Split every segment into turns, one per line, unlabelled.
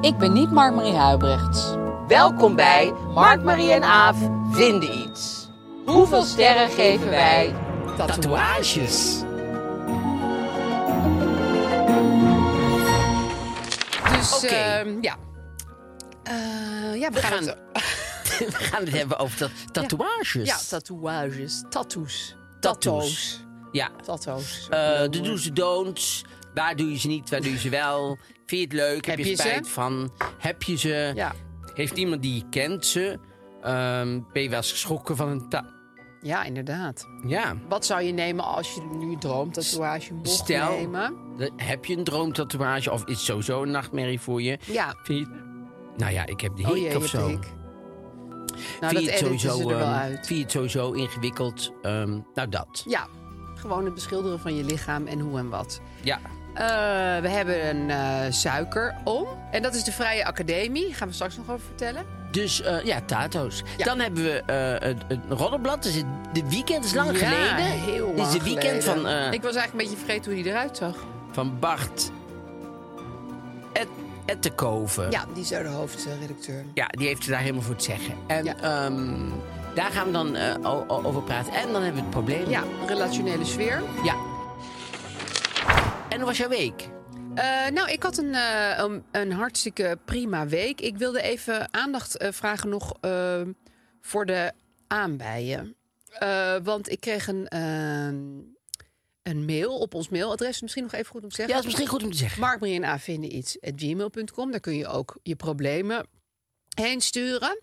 Ik ben niet Mark-Marie Huibrechts.
Welkom bij Mark, Marie en Aaf vinden iets. Hoeveel sterren geven wij?
Tatoeages.
Dus
Oké.
ehm, ja. Eh, ja, we, gaan,
gaan-
het-
We gaan het hebben over dat, tatoeages.
Ja, tatoeages. Tattoos.
dus Tattoos.
Tattoos.
Ja.
Tattoos.
Eh, de do's, de don'ts. Waar doe je ze niet, waar doe je ze wel? Vind je het leuk? Heb,
Heb
je
je ze?
spijt van? Heb je ze?
Ja.
Heeft iemand die je kent ze? Ehm, ben je wel eens geschrokken van een ta...
ja, inderdaad.
Ja.
Wat zou je nemen als je nu een droomtatoeage mocht
Stel,
nemen?
de- heb je een droomtatoeage of is het sowieso een nachtmerrie voor je?
Ja.
Vind je... Nou ja, ik heb de hik
oh jee, je
of
hebt
zo.
ik. Nou, dat
vind, je
editen
het sowieso,
ze er wel
ehm,
uit.
vind je het sowieso ingewikkeld? Ehm, nou, dat.
Ja, gewoon het beschilderen van je lichaam en hoe en wat.
Ja.
Eh, we hebben een eh suikeroom. En dat is de Vrije Academie. Gaan we straks nog over vertellen.
Dus eh, ja, tato's.
Ja.
Dan hebben we eh het, het roddelblad. Dus het, de weekend is lang
Ja,
geleden.
heel
Dit is
lang
de weekend
geleden.
van, eh,
Ik was eigenlijk een beetje vergeten hoe die eruit zag.
van Bart Et, Ettenkoven.
Ja, die is daar de hoofdredacteur.
Ja, die heeft er daar helemaal voor te zeggen. En
Ja.
ehm, daar gaan we dan eh, o- o- over praten. En dan hebben we het probleem.
Ja, relationele sfeer.
Ja. En hoe was jouw week?
Eh, nou, ik had een, eh, een, een hartstikke prima week. Ik wilde even aandacht eh, vragen nog eh, voor de aanbijen. Eh, want ik kreeg een, eh, een mail op ons mailadres. Misschien nog even goed om te
Ja,
zeggen.
dat is misschien goed om te zeggen.
Mark, Marie en A vinden iets at gmail.com. Daar kun je ook je problemen heen sturen.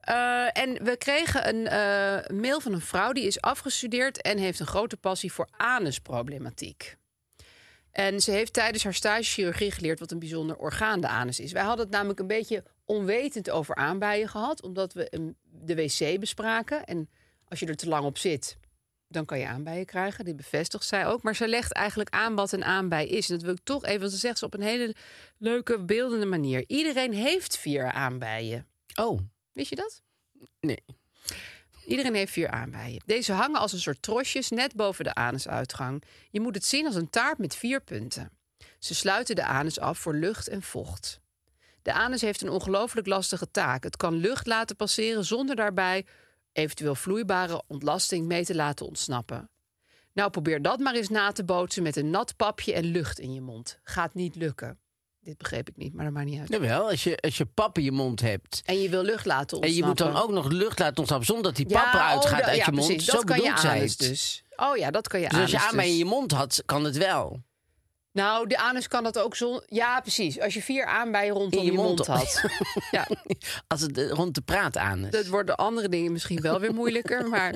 Eh, en we kregen een eh, mail van een vrouw die is afgestudeerd en heeft een grote passie voor anusproblematiek. En ze heeft tijdens haar stage chirurgie geleerd wat een bijzonder orgaan de anus is. Wij hadden het namelijk een beetje onwetend over aanbijen gehad, omdat we een- de wc bespraken. En als je er te lang op zit, dan kan je aanbijen krijgen. Dit bevestigt zij ook. Maar zij legt eigenlijk aan wat een aanbij is. En dat wil ik toch even, want ze zegt ze op een hele leuke, beeldende manier. Iedereen heeft vier aanbijen.
Oh,
Wist je dat?
nee.
Iedereen heeft vier aanbijen. Deze hangen als een soort trosjes net boven de anusuitgang. Je moet het zien als een taart met vier punten. Ze sluiten de anus af voor lucht en vocht. De anus heeft een ongelooflijk lastige taak. Het kan lucht laten passeren zonder daarbij eventueel vloeibare ontlasting mee te laten ontsnappen. Nou, probeer dat maar eens na te bootsen met een nat papje en lucht in je mond. Gaat niet lukken. Dit begreep ik niet, maar dat maakt niet uit.
Jawel, als je, als je pap in je mond hebt.
En je wil lucht laten ontsnappen.
En je moet dan ook nog lucht laten ontsnappen zonder dat die pap
oh,
eruit gaat
da-
uit
ja,
je mond.
precies.
Zo
dat kan je
bedoelt zij
anus
het.
dus. Oh ja, dat kan je
Dus
anus
als je aanbij
dus.
in je mond had, kan het wel.
Nou, de anus kan dat ook zon... Ja, precies. Als je vier aanbijen rondom
In
je,
je mond
mond, had. ja,
Als het eh, rond de praat aan is.
dat worden andere dingen misschien wel weer moeilijker, maar...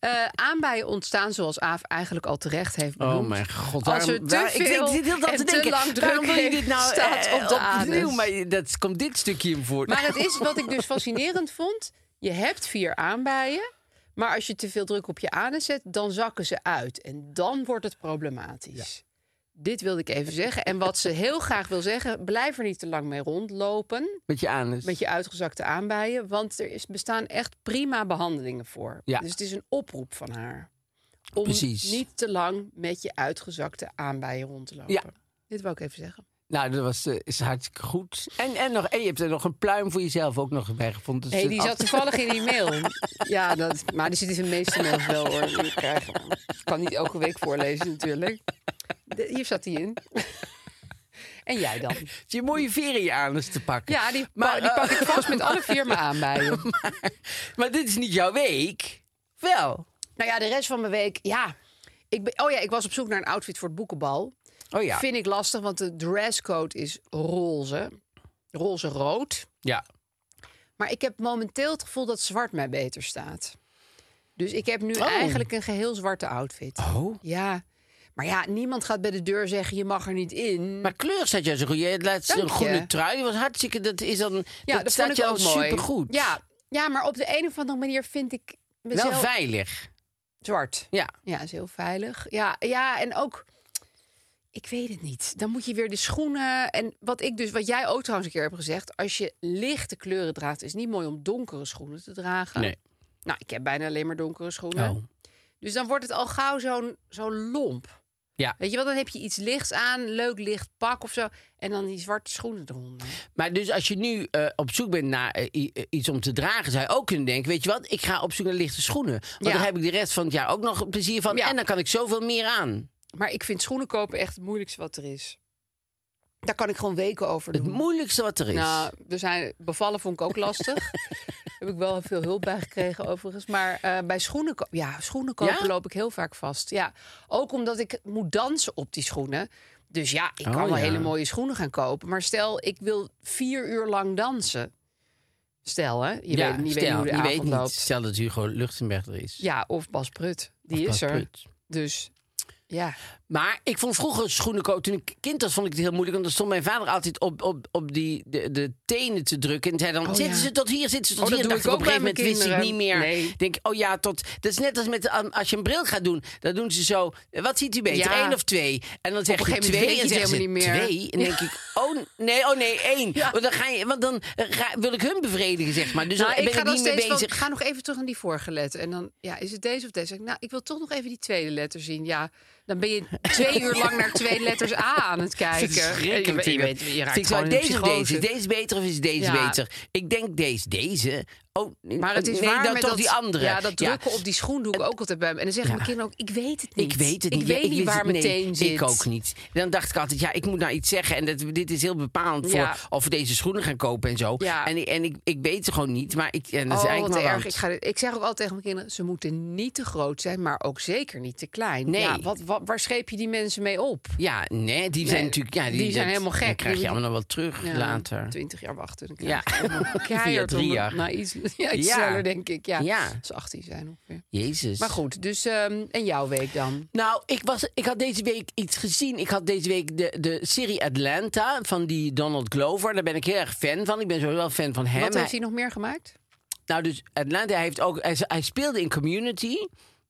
eh, aanbijen ontstaan zoals Aaf eigenlijk al terecht heeft benoemd.
Oh mijn god,
Als er te
ik
veel
zit heel dat
en
te
te
denken,
lang
waarom
druk
wil je dit nou
staat
eh,
op de anus?
opnieuw? Maar dat komt dit stukje in voor.
Maar het is wat ik dus fascinerend vond. Je hebt vier aanbijen, maar als je te veel druk op je anus zet, dan zakken ze uit. En dan wordt het problematisch. Dit wilde ik even zeggen. En wat ze heel graag wil zeggen, blijf er niet te lang mee rondlopen
met je anus.
met je uitgezakte aanbijen. Want er is, bestaan echt prima behandelingen voor.
Ja.
Dus het is een oproep van haar. Om
Precies.
niet te lang met je uitgezakte aanbijen rond te lopen.
Ja.
Dit wou ik even zeggen.
Nou, dat was, eh, is hartstikke goed. En, en, nog, en je hebt er nog een pluim voor jezelf ook nog bij gevonden. Dus
Nee,
een
die zat
af-
toevallig in die mail. Ja, dat, maar die zit in de meeste mails wel hoor. die ik krijg. Ik kan niet elke week voorlezen natuurlijk. De- hier zat hij in. En jij dan?
Je mooie veren in je anus te pakken.
Ja, die,
Maar,
pa- die pak
eh,
ik vast met alle vier me aan bij je.
maar dit is niet jouw week. Wel.
Nou ja, de rest van mijn week, ja. Ik ben, oh ja, ik was op zoek naar een outfit voor het boekenbal.
Oh ja.
Vind ik lastig, want de dresscode is roze. Roze-rood.
Ja.
Maar ik heb momenteel het gevoel dat zwart mij beter staat. Dus ik heb nu
Oh.
eigenlijk een geheel zwarte outfit.
Oh.
Ja. Maar ja, niemand gaat bij de deur zeggen, je mag er niet in.
Maar kleur staat juist zo goed. Je laatst
Dank
een groene
je.
trui. Die was hartstikke. Dat is dan.
ja,
dat, staat
vond
jou
ik ook mooi.
supergoed.
Ja. ja, maar op de een of andere manier vind ik mezelf
Wel veilig.
zwart.
Ja.
Ja, is heel veilig. Ja, ja, en ook, ik weet het niet. Dan moet je weer de schoenen. En wat ik dus, wat jij ook trouwens een keer hebt gezegd, als je lichte kleuren draagt, is het niet mooi om donkere schoenen te dragen.
Nee.
Nou, ik heb bijna alleen maar donkere schoenen.
Oh.
Dus dan wordt het al gauw zo'n zo lomp.
Ja.
Weet je wel, dan heb je iets lichts aan, leuk licht pak of zo. En dan die zwarte schoenen eronder.
Maar dus als je nu eh, op zoek bent naar eh, i- eh, iets om te dragen, zou je ook kunnen denken: weet je wat, ik ga op zoek naar lichte schoenen. Want
Ja.
daar heb ik de rest van het jaar ook nog plezier van.
Ja.
En dan kan ik zoveel meer aan.
Maar ik vind schoenen kopen echt het moeilijkste wat er is. Daar kan ik gewoon weken over
Het
doen.
moeilijkste wat er is.
Nou, er zijn, bevallen vond ik ook lastig. heb ik wel veel hulp bij gekregen overigens. Maar eh, bij schoenen, ko- ja, schoenen kopen
Ja?
loop ik heel vaak vast. Ja, ook omdat ik moet dansen op die schoenen. Dus ja, ik
Oh,
kan wel
ja.
hele mooie schoenen gaan kopen. Maar stel, ik wil vier uur lang dansen. Stel, hè? Je
ja,
weet niet
stel,
hoe de
je
avond
weet niet.
loopt.
Stel dat Hugo Luchtenberg er is.
Ja, of Bas Prut. Die
Of
is
Bas
er.
Prut.
Dus ja.
Maar ik vond vroeger schoenen kopen. Toen ik kind was, vond ik het heel moeilijk. Want dan stond mijn vader altijd op, op, op die, de, de tenen te drukken. En zei dan:
Oh,
zitten
ja.
ze tot hier, zitten ze tot
Oh, dat
hier. En
doe
dacht
ik
ik op
ook
een gegeven moment
bij mijn
wist ik niet meer.
kinderen. Nee.
Denk, oh ja, tot. Dat is net als met, um, als je een bril gaat doen. Dan doen ze zo: wat ziet u beter?
Ja.
Eén of twee? En dan zeg
een
je
gegeven moment
twee. En
weet je
zeggen
het
ze
helemaal niet meer.
twee. En dan denk ik: oh nee, oh nee, één. Want dan, ga je, want dan eh, ga- wil ik hun bevredigen, zeg maar. Dus
Nou,
dan ben ik,
dan
niet meer
steeds van,
bezig.
ga nog even terug naar die vorige letter. En dan, ja, is het deze of deze? Zeg ik, Nou, ik wil toch nog even die tweede letter zien. Ja, dan ben je twee uur lang naar twee letters A aan het kijken.
Verschrikkelijk.
Je, weet- je, weet- je raakt
Ik zou
gewoon in
deze of deze.
psychose.
Is deze beter of is deze
Ja.
beter? Ik denk deze, deze. Oh,
Maar het is
nee,
waar
dan
met
toch
dat,
die andere.
Ja, dat drukken op die schoen doe ik ook altijd bij hem. En dan zeggen
Ja.
mijn kinderen ook, ik weet het niet.
Ik weet het niet.
Ik
Ja,
weet niet
wist
waar
het- nee,
meteen zit.
Ik ook niet. Dan dacht ik altijd, ja, ik moet nou iets zeggen. En dat, dit is heel bepalend
Ja.
voor of we deze schoenen gaan kopen en zo.
Ja.
En, ik- en ik, ik weet het gewoon niet. Maar ik, en dat is
oh,
eigenlijk
wat
maar
erg.
wat.
Ik, ga, dit- ik zeg ook altijd tegen mijn kinderen: ze moeten niet te groot zijn, maar ook zeker niet te klein.
Nee.
Ja, wat, wat, waar scheep je die mensen mee op?
Ja, nee, die zijn
Nee,
natuurlijk... Ja, die,
die zijn helemaal gek.
Dan krijg je
Die-
allemaal wel terug
Ja,
later.
20 jaar wachten. Dan
Ja.
krijg je helemaal keihard
drie
onder-
jaar.
Nou, iets, ja, iets
Ja.
sneller, denk ik. Ja.
Ja.
Als ze 18 zijn ongeveer.
Jezus.
Maar goed, dus ehm, en jouw week dan?
Nou, ik, was, ik had deze week iets gezien. Ik had deze week de, de serie Atlanta van die Donald Glover. Daar ben ik heel erg fan van. Ik ben sowieso wel fan van hem.
Wat
Hij-
heeft hij nog meer gemaakt?
nou, dus Atlanta heeft ook. Hij, hij speelde in Community.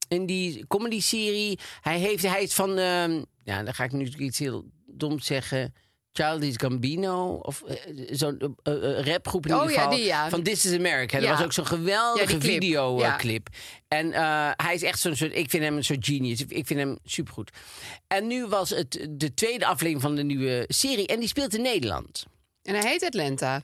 In die comedy-serie. Hij, heeft, hij is van. ehm, ja, dan ga ik nu natuurlijk iets heel doms zeggen. Childish Gambino. Of eh, zo'n eh, eh, rapgroep in
Oh,
ieder
ja,
geval.
die, ja.
Van This is America.
Ja.
Dat was ook zo'n geweldige
Ja, die clip. Ja.
videoclip. En eh, hij is echt zo'n soort. Ik vind hem een soort genius. Ik vind hem supergoed. En nu was het de tweede aflevering van de nieuwe serie. En die speelt in Nederland.
En hij heet Atlanta.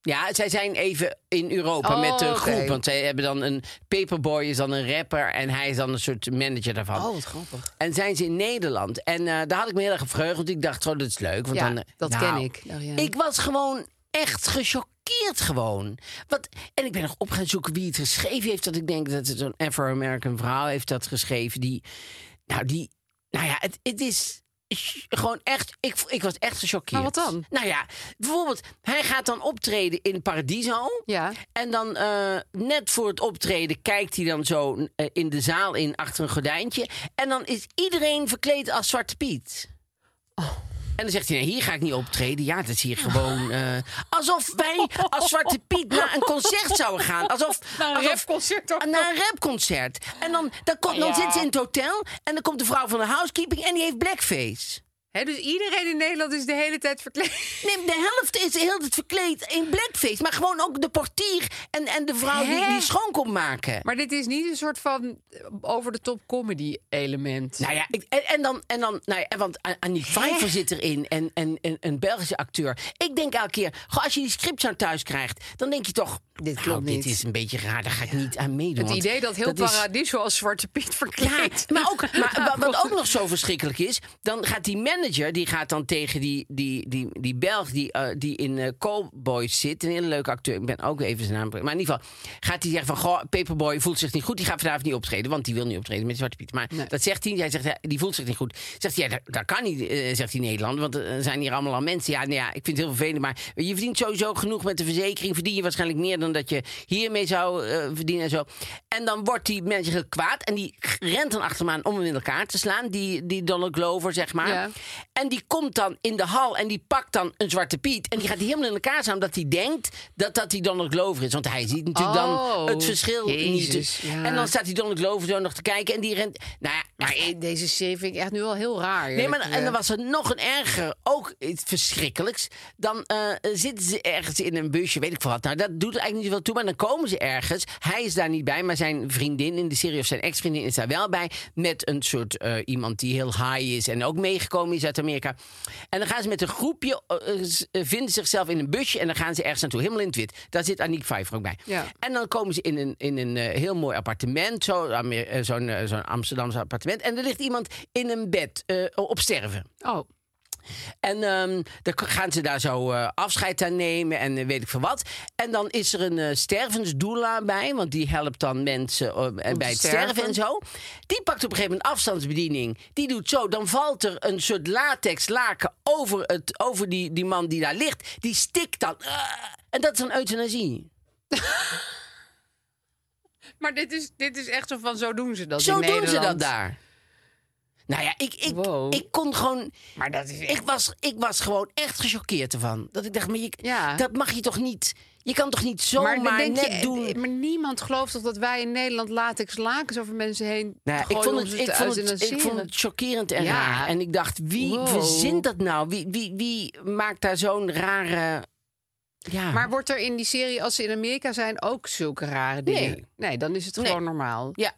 Ja, zij zijn even in Europa
Oh,
met de
oké.
groep. Want zij hebben dan een paperboy, is dan een rapper. En hij is dan een soort manager daarvan.
Oh, wat grappig.
En zijn ze in Nederland. En eh, daar had ik me heel erg op verheugd. Want ik dacht, oh, dat is leuk. Want
Ja,
dan,
dat
Nou,
ken ik. Darianne.
Ik was gewoon echt gechoqueerd gewoon. Wat, en ik ben nog op gaan zoeken wie het geschreven heeft. Dat ik denk dat het zo'n Afro-American vrouw heeft dat geschreven. Die, nou die, nou ja, het, het is ch- gewoon echt, ik, ik was echt gechoqueerd.
Maar wat dan?
Nou ja, bijvoorbeeld, hij gaat dan optreden in Paradiso.
Ja.
En dan eh, net voor het optreden kijkt hij dan zo eh, in de zaal in achter een gordijntje. En dan is iedereen verkleed als Zwarte Piet. En dan zegt hij, nee, hier ga ik niet optreden. Ja, dat is hier gewoon... eh, alsof wij als Zwarte Piet naar een concert zouden gaan. Alsof,
Naar een
alsof-
rapconcert ook
Naar een rapconcert. En dan, dan, komt, dan zit ze in het hotel en dan komt de vrouw van de housekeeping en die heeft blackface.
Hè, dus iedereen in Nederland is de hele tijd verkleed.
Nee, de helft is heel het verkleed in blackface. Maar gewoon ook de portier en, en de vrouw die,
Hè?
die schoon komt maken.
Maar dit is niet een soort van eh, over-de-top comedy element.
Nou ja, ik, en, en dan, en dan nou ja, en want A- Annie Pfeiffer zit erin en, en, en een Belgische acteur. Ik denk elke keer, goh, als je die script zo thuis krijgt, dan denk je toch, dit,
klopt
Nou, dit
niet.
is een beetje raar, daar ga ik niet aan meedoen.
het
want
idee dat heel
is-
Paradiso als Zwarte Piet
Ja,
verkleed.
maar, ook, maar wa- wat ook nog zo verschrikkelijk is, dan gaat die manager die gaat dan tegen die, die, die, die Belg die, eh, die in eh, Cowboys zit. Een hele leuke acteur. Ik ben ook even zijn naam. Maar in ieder geval gaat hij zeggen van... Goh, Paperboy voelt zich niet goed. Die gaat vanavond niet optreden. Want die wil niet optreden met Zwarte Piet. Maar
Nee.
dat zegt hij. Hij zegt, ja, die voelt zich niet goed. Zegt hij, ja, dat, dat kan niet, eh, zegt hij Nederland. Want er zijn hier allemaal al mensen. Ja, nou ja, ik vind het heel vervelend. Maar je verdient sowieso genoeg met de verzekering. Verdien je waarschijnlijk meer dan dat je hiermee zou eh, verdienen en zo. En dan wordt die manager heel kwaad. En die rent dan achter hem aan om hem in elkaar te slaan. Die, die Donald Glover, zeg maar.
Ja.
En die komt dan in de hal en die pakt dan een Zwarte Piet. En die gaat die helemaal in elkaar slaan. Omdat hij denkt dat dat die Donald Glover is. Want hij ziet natuurlijk
Oh,
dan het verschil
Jezus,
niet.
ja.
En dan staat die Donald Glover zo nog te kijken. En die rent... Nou ja,
Maar eh, deze serie vind ik echt nu al heel raar.
Nee,
eerlijk
maar en dan
gezegd.
was er nog een erger, ook iets verschrikkelijks. Dan eh, zitten ze ergens in een busje, weet ik veel wat. Nou, dat doet er eigenlijk niet zoveel toe, maar dan komen ze ergens. Hij is daar niet bij, maar zijn vriendin in de serie of zijn ex-vriendin is daar wel bij. Met een soort eh, iemand die heel high is en ook meegekomen is uit Amerika. En dan gaan ze met een groepje, eh, eh, z- eh, vinden zichzelf in een busje en dan gaan ze ergens naartoe. Helemaal in het wit. Daar zit Aniek Vijver ook bij.
Ja.
En dan komen ze in een, in een eh, heel mooi appartement, zo, Amer- eh, zo'n eh, zo'n Amsterdamse appartement. En er ligt iemand in een bed eh, op sterven.
Oh,
En ehm, dan k- gaan ze daar zo eh, afscheid aan nemen en eh, weet ik veel wat. En dan is er een eh stervensdoula bij, want die helpt dan mensen eh, bij het
sterven.
sterven en zo. Die pakt op een gegeven moment afstandsbediening. Die doet zo, dan valt er een soort latex laken over, het, over die, die man die daar ligt. Die stikt dan. Ah! en dat is een euthanasie.
maar dit is, dit is echt zo van zo doen ze dat
Zo
in
doen ze dat
Nederland.
daar. Nou ja, ik, ik,
Wow.
ik kon gewoon.
Maar dat is echt...
Ik was, ik was gewoon echt gechoqueerd ervan. Dat ik dacht, maar je,
Ja.
dat mag je toch niet. Je kan toch niet
Maar,
zomaar
dan denk
net
je,
doen.
eh, maar niemand gelooft toch dat wij in Nederland latex lakens over mensen heen
Nou, ja, ik,
gooien
vond
om
het,
ze
ik,
te
vond het, ik
euthanaseren?
vond het chockerend en
Ja.
raar. En ik dacht, wie
Wow.
verzint dat nou? Wie, wie, wie maakt daar zo'n rare... Ja.
Maar wordt er in die serie, als ze in Amerika zijn, ook zulke rare dingen?
Nee.
dan is het
Nee.
gewoon normaal.
Ja.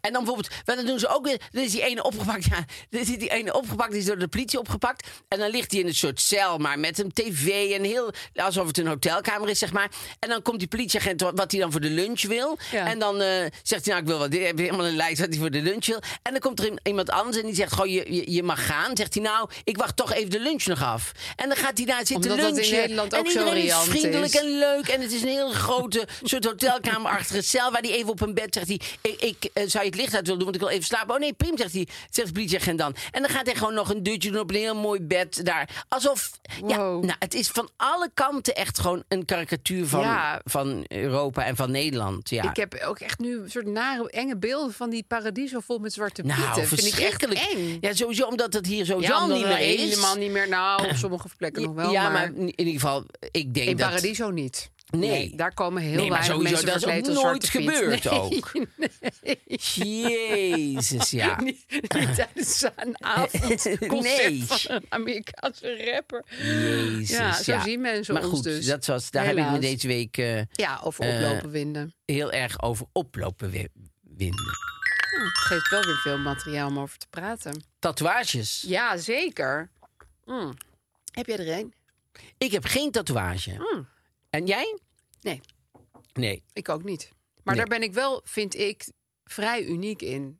En dan bijvoorbeeld, want dan doen ze ook weer. Dan is die ene opgepakt. Ja, dan is die ene opgepakt, die is door de politie opgepakt. En dan ligt hij in een soort cel, maar met een tv en heel. alsof het een hotelkamer is, zeg maar. En dan komt die politieagent, wat wat hij dan voor de lunch wil.
Ja.
En dan eh, zegt hij, nou, ik wil wat. Ik heb helemaal een lijst wat hij voor de lunch wil. En dan komt er i- iemand anders en die zegt, goh, je, je, je mag gaan. Zegt hij, nou, ik wacht toch even de lunch nog af. En dan gaat hij daar zitten
Omdat dat in
lunchen.
Nederland ook
en
zo
iedereen is
riant
vriendelijk
is.
en leuk. En het is een heel grote soort hotelkamerachtige cel. Waar hij even op een bed zegt. Hij, ik ik eh, zou je het licht uit willen doen, want ik wil even slapen. Oh nee, prima, zegt hij. Zegt de politieagent dan. En dan gaat hij gewoon nog een dutje doen op een heel mooi bed daar. Alsof. Ja,
Wow.
nou, het is van alle kanten echt gewoon een karikatuur van,
Ja.
van Europa en van Nederland. Ja.
Ik heb ook echt nu een soort nare, enge beelden van die paradiso vol met zwarte
nou,
pieten. vind ik echt
verschrikkelijk.
eng.
Ja, sowieso omdat het hier sowieso
Ja,
al
omdat
niet
er
meer is.
helemaal niet meer. Nou, op sommige plekken nog wel.
ja, maar
maar,
in ieder geval, ik denk
in
dat...
paradiso niet.
Nee.
daar komen heel
nee, maar
weinig
sowieso,
mensen
dat is ook
verkleed als
nooit
Zwarte Piet.
gebeurd
Nee.
ook. Jezus, ja.
Niet, niet tijdens een avondconcert
Nee.
van een Amerikaanse rapper.
Jezus,
Ja, zo zien mensen
maar
ons
goed,
dus.
Dat was, daar heb ik me
Helaas.
deze week eh,
Ja, of
Eh,
oplopen winden.
heel erg over oplopen wi- winden.
Nou, het geeft wel weer veel materiaal om over te praten.
Tatoeages.
Ja, zeker. Mm. Heb jij er een?
Ik heb geen tatoeage. En jij?
Hmm. Nee.
Nee.
Ik ook niet. Maar
Nee.
daar ben ik wel, vind ik, vrij uniek in.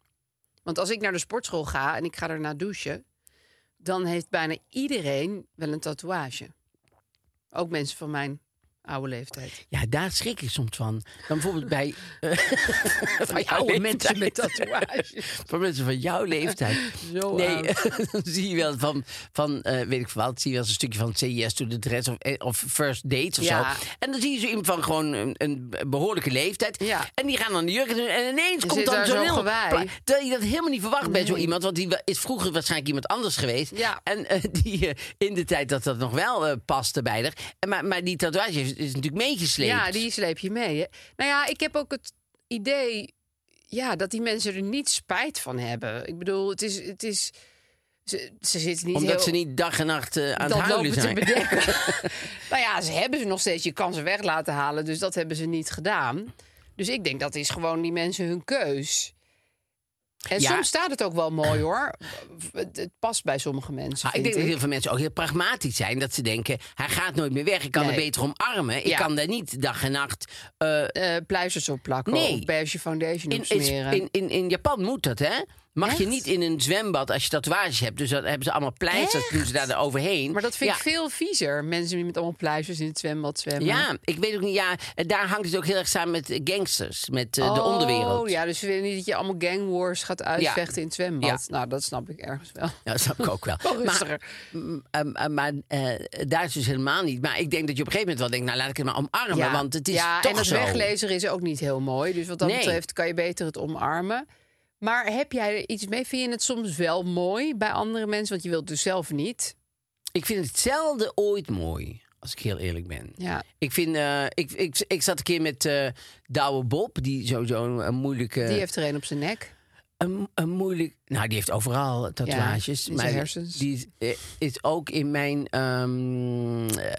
Want als ik naar de sportschool ga en ik ga daarna douchen... dan heeft bijna iedereen wel een tatoeage. Ook mensen van mijn oude leeftijd.
Ja, daar schrik ik soms van. Dan bijvoorbeeld bij
eh, Van
jouw
oude mensen met
leeftijd.
tatoeages.
van mensen van jouw leeftijd.
Zo
nee,
oud.
dan zie je wel van, van eh, weet ik veel wat, zie je wel eens een stukje van CES to the dress of, eh, of first dates of
Ja.
zo. En dan zie je zo iemand van gewoon een, een behoorlijke leeftijd.
Ja.
En die gaan dan de jurk doen en ineens komt
zit
dan
daar
zo'n
zo'n
heel...
gewei.
pla- Terwijl je dat helemaal niet verwacht bij zo iemand, want die wa- is vroeger waarschijnlijk iemand anders geweest.
Ja.
En eh, die eh, in de tijd dat dat nog wel eh, paste bij haar. En Maar, maar die tatoeage is, is natuurlijk meegesleept.
Ja, die sleep je mee. Hè? Nou ja, ik heb ook het idee ja, dat die mensen er niet spijt van hebben. Ik bedoel, het is. Het is ze, ze zitten niet
Omdat
heel,
ze niet dag en nacht eh, aan
dat
het huilen
lopen
zijn.
te bedenken. nou ja, ze hebben ze nog steeds. Je kan ze weg laten halen, dus dat hebben ze niet gedaan. Dus ik denk dat is gewoon die mensen hun keus. En
Ja.
soms staat het ook wel mooi hoor. Het, het past bij sommige mensen.
Maar Ah, ik denk
vind
dat
ik.
heel veel mensen ook heel pragmatisch zijn. Dat ze denken, hij gaat nooit meer weg. Ik kan
Nee.
er beter omarmen. Ik
Ja.
kan daar niet dag en nacht... eh,
Eh, pleisters op plakken
Nee.
of beige foundation
in,
opsmeren.
in, in, in Japan moet dat, hè? Mag je
Echt?
niet in een zwembad als je tatoeages hebt. Dus dat hebben ze allemaal pleisters, doen ze daar overheen.
Maar dat vind
ja.
ik veel viezer. Mensen die met allemaal pluisjes in het zwembad zwemmen.
Ja, ik weet ook niet. Ja, eh, daar hangt het ook heel erg samen met eh, gangsters, met eh, de
Oh,
onderwereld.
ja, dus we willen niet dat je allemaal gang wars gaat uitvechten in het zwembad. Nou, dat snap ik ergens wel.
Ja, dat snap ik ook wel.
Wel
maar
rustiger.
m, ehm, ehm, maar eh, daar is dus helemaal niet. Maar ik denk dat je op een gegeven moment wel denkt, nou laat ik het maar omarmen.
ja,
Want het is
ja,
toch
en dat
zo.
weglezer is ook niet heel mooi. Dus wat dat
Nee.
betreft kan je beter het omarmen. Maar heb jij er iets mee? Vind je het soms wel mooi bij andere mensen? Want je wilt dus zelf niet.
Ik vind het zelden ooit mooi, als ik heel eerlijk ben.
Ja.
Ik, vind, eh, ik, ik, ik zat een keer met eh Douwe Bob, die sowieso een, een moeilijke...
Die heeft er een op zijn nek.
een, een moeilijk. Nou, die heeft overal tatoeages.
Ja, in zijn hersens.
Die is, eh, is ook in mijn ehm, eh,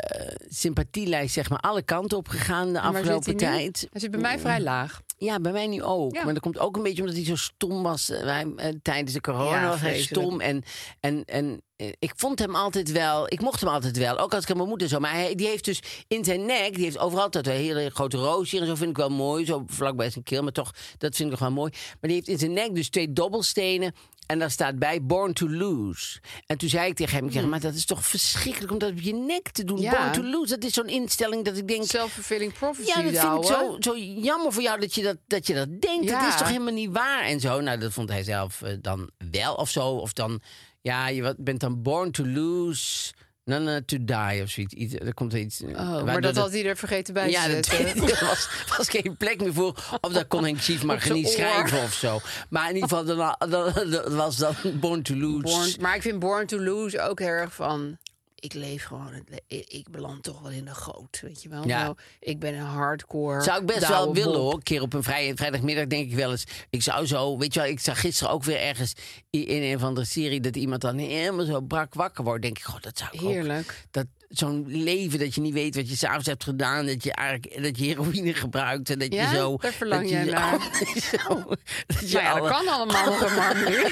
sympathielijst, zeg maar, alle kanten op gegaan de
En waar zit
afgelopen
hij nu?
tijd.
Hij zit bij mij vrij laag.
Ja, bij mij nu ook.
Ja.
Maar dat komt ook een beetje omdat hij zo stom was. eh, Hij, eh, tijdens de corona
Ja,
was hij
vreselijk.
stom. En, en, en eh, ik vond hem altijd wel... Ik mocht hem altijd wel. Ook als ik aan mijn moeder zo. Maar hij, die heeft dus in zijn nek... Die heeft overal dat eh, hele grote roos hier. En zo vind ik wel mooi. Zo vlakbij zijn keel. Maar toch, dat vind ik nog wel mooi. Maar die heeft in zijn nek dus twee dobbelstenen... En daar staat bij Born to Lose. En toen zei ik tegen hem: ik zeg, Maar dat is toch verschrikkelijk om dat op je nek te doen?
Hmm. Ja.
Born to Lose. Dat is zo'n instelling dat ik denk:
Self-fulfilling prophecy. Oh,
ja, dat vind
ouwe.
ik zo, zo jammer voor jou dat je dat, dat, je dat denkt.
Ja.
Dat is toch helemaal niet waar en zo. Nou, dat vond hij zelf eh, dan wel of zo. Of dan, ja, je wat- bent dan born to lose, na na to die of zoiets. Iets, er komt er iets. eh,
Oh, maar
waardoor
dat had hij er vergeten bij
ja,
te
dat
zetten.
er was, was geen plek meer voor. Of dat kon Henk
Op
maar
zijn
niet
oor.
schrijven of zo. Maar in ieder geval, dan, dan, dat was dan born to lose.
Born- maar ik vind Born to Lose ook heel erg van... Ik leef gewoon, het le- ik, ik beland toch wel in de goot, weet je wel.
Ja.
Nou, ik ben een hardcore...
Zou ik best wel
Douwe
willen
Bob.
hoor. Een keer op een vrij, vrijdagmiddag denk ik wel eens. Ik zou zo, weet je wel, ik zag gisteren ook weer ergens i- in een van de serie dat iemand dan helemaal zo brak wakker wordt. Denk ik, god, dat zou ik ook.
Heerlijk.
Dat zo'n leven dat je niet weet wat je s'avonds hebt gedaan, dat je eigenlijk dat je heroïne gebruikt en dat
Ja?
je zo.
Daar verlang
dat
jij
je,
naar.
zo, dat je
Nou ja,
alle-
dat kan allemaal nog een man nu.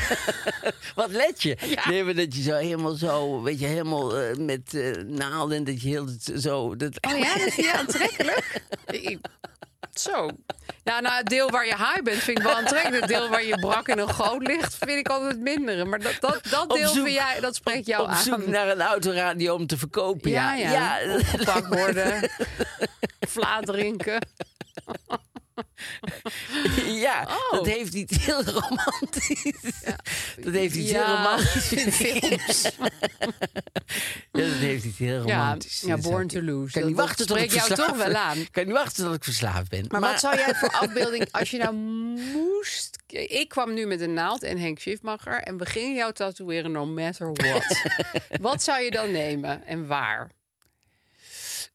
wat let je? Nee, maar dat je zo helemaal zo, weet je, helemaal eh, met eh, naalden en dat je heel het zo. Dat,
Oh ja, dat vind je aantrekkelijk? Ik- Zo. Nou, nou, het deel waar je high bent vind ik wel aantrekkelijk. Het deel waar je brak in een goot ligt vind ik altijd het mindere. Maar dat, dat, dat
Op
deel
zoek-
vind jij, dat spreekt jou
op
aan.
zoek naar een autoradio om te verkopen.
ja, ja. ja. Opgepakt worden. Vla drinken.
Ja,
Oh.
dat heeft iets heel romantisch. Dat heeft iets heel
Ja,
romantisch, vind ik. Ja, dat heeft iets heel
Ja,
romantisch.
ja, Born to Lose.
Kan
Dat-
niet
dat
wachten tot ik
spreekt jou
verslaafd
toch wel
ben.
aan.
Kan niet wachten tot ik verslaafd ben.
Maar, wat zou jij voor afbeelding, als je nou moest... Ik kwam nu met een naald en Henk Schiefmacher... en we gingen jou tatoeëren no matter what. wat zou je dan nemen en waar?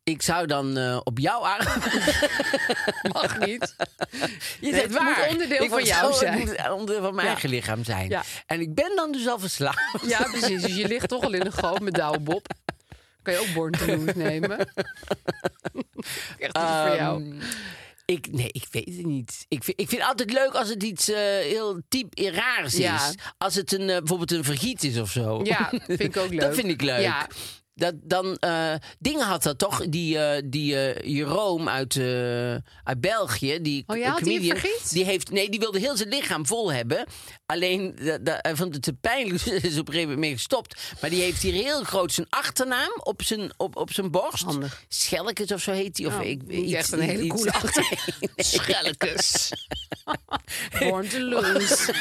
Ik zou dan eh, op jouw arm...
Mag niet.
Je
het moet onderdeel
Ik
van
word
jou
zo-
zijn.
Het moet onderdeel van mijn
Ja.
eigen lichaam zijn.
Ja.
En ik ben dan dus al verslaafd.
Ja, precies. Dus je ligt toch al in een goot met Douwe Bob. Kan je ook Born to Lose nemen. Echt iets voor jou.
Ehm, ik, nee, ik weet het niet. Ik vind, ik vind het altijd leuk als het iets eh, heel typ en raars is.
Ja.
Als het een, eh, bijvoorbeeld een vergiet is of zo.
Ja, vind ik ook leuk.
Dat vind ik leuk.
Ja.
Dat, dan, eh, dingen had dat toch, die, eh, die eh, Jeroen uit, eh, uit België, die
Oh ja, had die een
comedian,
vergiet?
die heeft, nee, die wilde heel zijn lichaam vol hebben. Alleen, da- da- hij vond het te pijnlijk, dus is op een gegeven moment mee gestopt. Maar die heeft hier heel groot zijn achternaam op zijn, op, op zijn borst.
Handig.
Schelkens of zo heet hij. Of
Nou,
ik,
niet
iets,
echt een hele
iets-
coole achternaam.
Nee.
Schelkes. Born to Lose.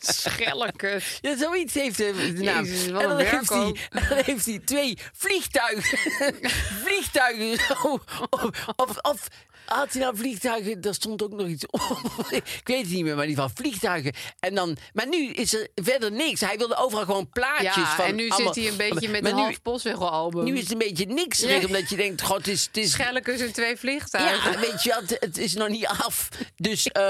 Schelkes.
Ja, zoiets heeft hij de naam.
Jezus, wat
en dan
een
heeft,
werk
hij,
ook.
en dan heeft hij twee vliegtuigen. vliegtuigen zo. Of, of, of had hij nou vliegtuigen? Daar stond ook nog iets op. Ik weet het niet meer, maar in ieder geval vliegtuigen. En dan, maar nu is er verder niks. Hij wilde overal gewoon plaatjes
Ja,
van.
en nu
allemaal-
zit hij een beetje met
maar
een
nu-
half postwegelalbum.
Nu is het dus een beetje niks, Rick,
Nee.
omdat je denkt, god, het is... Het is
Schelkes en twee vliegtuigen.
ja, weet je wat, het is nog niet af. Dus eh,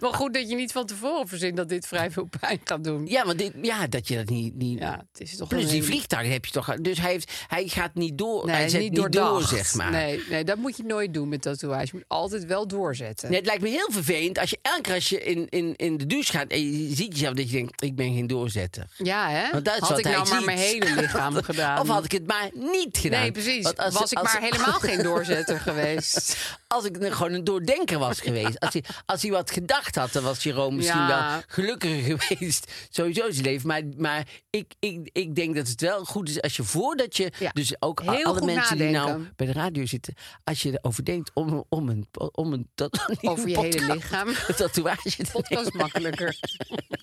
Maar goed dat je niet van tevoren verzint dat dit vrij veel pijn gaat doen.
ja, want dit, ja, dat je dat niet, niet,
Ja, het is toch
Plus
een
die
hele-
vliegtuig heb je toch. Dus hij, heeft, hij gaat niet door.
Nee,
hij zet
niet
niet, door,
doordacht.
zeg maar.
Nee, nee, dat moet je nooit doen met tatoeage. Je moet altijd wel doorzetten.
Nee, het lijkt me heel vervelend als je elke keer als je in, in, in de douche gaat en je ziet jezelf dat je denkt, ik ben geen doorzetter.
Ja, hè?
Want dat is
had
wat
ik
hij
nou maar
ziet.
mijn hele lichaam gedaan.
Of had ik het maar niet gedaan.
Nee, precies.
Want als-
was ik
als-
maar helemaal geen doorzetter geweest.
als ik nou gewoon een doordenker was geweest. Als hij, als hij wat gedacht had, dan was Jeroen misschien
Ja.
wel gelukkiger geweest. Sowieso in zijn leven. Maar, maar ik, ik, ik denk dat het wel goed is als je voordat je...
Ja.
Dus ook
Heel
alle
goed
mensen die nou
nadenken.
bij de radio zitten. Als je erover denkt om, om een... Om een dat, een
Over je
podcast-
hele lichaam.
Een tatoeage te
Podcast is makkelijker.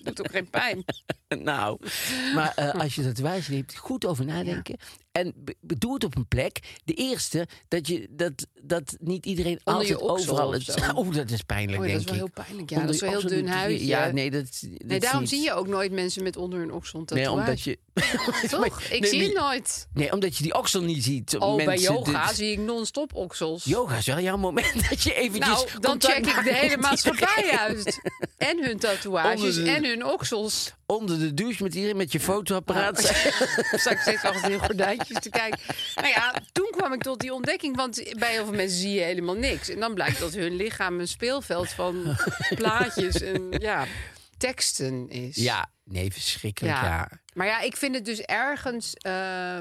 Doet ook geen pijn.
nou, maar eh, als je dat wijs neemt, goed over nadenken. En be- be- doe het op een plek. De eerste, dat, je, dat, dat niet iedereen
Onder je
altijd
oksel
overal...
of
Het,
zo.
oh, dat is pijnlijk,
Oh ja, dat
denk
is wel
ik.
heel pijnlijk. Ja,
Onder
dat is
je
wel heel
oksel
dun
doet het weer-
huidje.
Ja, nee, dat, dat
Nee, daarom
zie
zie je ook nooit mensen met onder hun oksel een
Nee,
tatoeage.
omdat je...
Toch? Ik
Nee,
zie het
die-
nooit.
Nee, omdat je die oksel niet ziet.
Oh, bij
Mensen,
yoga
dit-
zie ik non-stop oksels.
Yoga is wel jouw moment dat je eventjes...
nou, dan
contact
check ik
maakt
de
met
hele maatschappij
iedereen.
uit. En hun tatoeages
Onder de-
en hun oksels.
Onder de douche met iedereen, met je fotoapparaat.
Sta ik steeds achter die gordijntjes te kijken. Nou ja, toen kwam ik tot die ontdekking. Want bij heel veel mensen zie je helemaal niks. En dan blijkt dat hun lichaam een speelveld van plaatjes en ja, teksten is.
Ja, nee, verschrikkelijk, ja.
Maar ja, ik vind het dus ergens eh,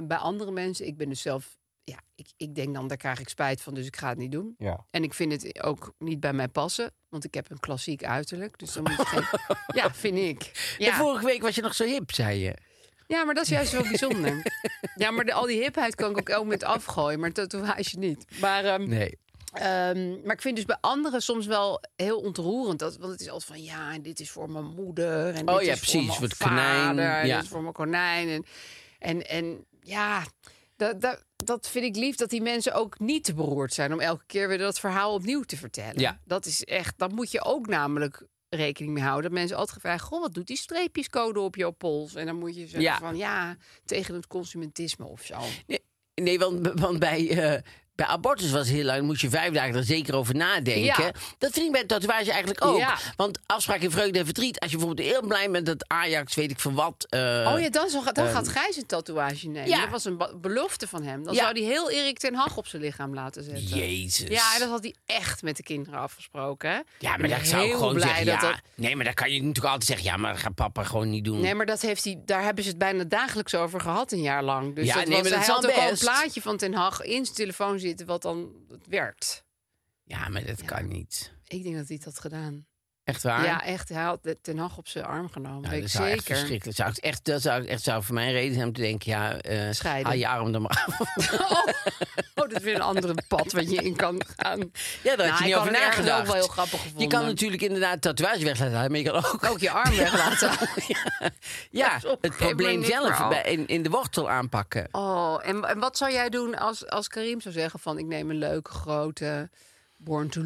bij andere mensen. Ik ben dus zelf. Ja, ik, ik denk dan, daar krijg ik spijt van, dus ik ga het niet doen.
Ja.
En ik vind het ook niet bij mij passen, want ik heb een klassiek uiterlijk. Dus dan moet je geen... Ja, vind ik.
En
Ja.
vorige week was je nog zo hip, zei je.
ja, maar dat is juist wel bijzonder. ja, maar de- al die hipheid kan ik ook elk moment afgooien, maar een tatoeage niet. Maar, ehm,
Nee.
Ehm, maar ik vind dus bij anderen soms wel heel ontroerend. Dat, want het is altijd van, ja, en dit is voor mijn moeder. En
Oh
dit
ja,
is
precies,
Voor
voor het
mijn vader,
konijn,
en
ja.
dit is voor mijn konijn. En, en, en ja, dat, dat, dat vind ik lief. Dat die mensen ook niet te beroerd zijn om elke keer weer dat verhaal opnieuw te vertellen.
Ja.
Dat is echt, dat moet je ook namelijk rekening mee houden. Dat mensen altijd vragen, goh, wat doet die streepjescode op jouw pols? En dan moet je zeggen
Ja.
van, ja, tegen het consumentisme of zo.
Nee, nee want, want bij, eh, bij abortus was het heel lang, moest je vijf dagen er zeker over nadenken.
Ja.
Dat vind ik bij een tatoeage eigenlijk ook.
Ja.
Want afspraak in vreugde en verdriet, als je bijvoorbeeld heel blij bent dat Ajax, weet ik van wat. eh,
Oh ja, dan, zal- dan gaat Gijs een tatoeage nemen.
ja.
Dat was een be- belofte van hem. Dan
Ja.
zou hij heel Erik ten Hag op zijn lichaam laten zetten.
Jezus.
Ja, en dat had hij echt met de kinderen afgesproken. hè?
Ja,
Ik
maar
ben
dat zou ik
heel
gewoon
blij
zeggen.
dat
ja.
dat-
Nee, maar dan kan je natuurlijk altijd zeggen, ja, maar dat gaat papa gewoon niet doen.
Nee, maar dat heeft hij, daar hebben ze het bijna dagelijks over gehad een jaar lang. Dus
Ja,
dat
nee,
was,
maar dat
hij
is
had
al
ook al een
best.
plaatje van ten Hag in zijn telefoon zitten wat dan werkt.
Ja, maar dat kan niet.
Ik denk dat hij het had gedaan.
Echt waar?
Ja, echt. Hij had de ten Hag op zijn arm genomen.
Nou,
weet
dat
ik
zou echt
zeker.
verschrikkelijk zou ik echt, Dat zou ik echt zou voor mijn reden zijn om te denken, ja, eh
Scheiden.
haal je arm dan maar af.
Oh, oh, dat is weer een andere pad wat je in kan gaan.
Ja, daar
Nou,
had je
ik
niet
had
over
het ergens
nagedacht.
ook wel heel grappig gevonden.
Je kan natuurlijk inderdaad tatoeage weg laten halen, maar je kan ook...
ook je arm weglaten.
ja, het
Dat is op een gegeven
probleem
moment niet
zelf
meer
bij- in, in de wortel aanpakken.
Oh, en, en wat zou jij doen als, als Karim zou zeggen van... ik neem een leuke, grote, Born to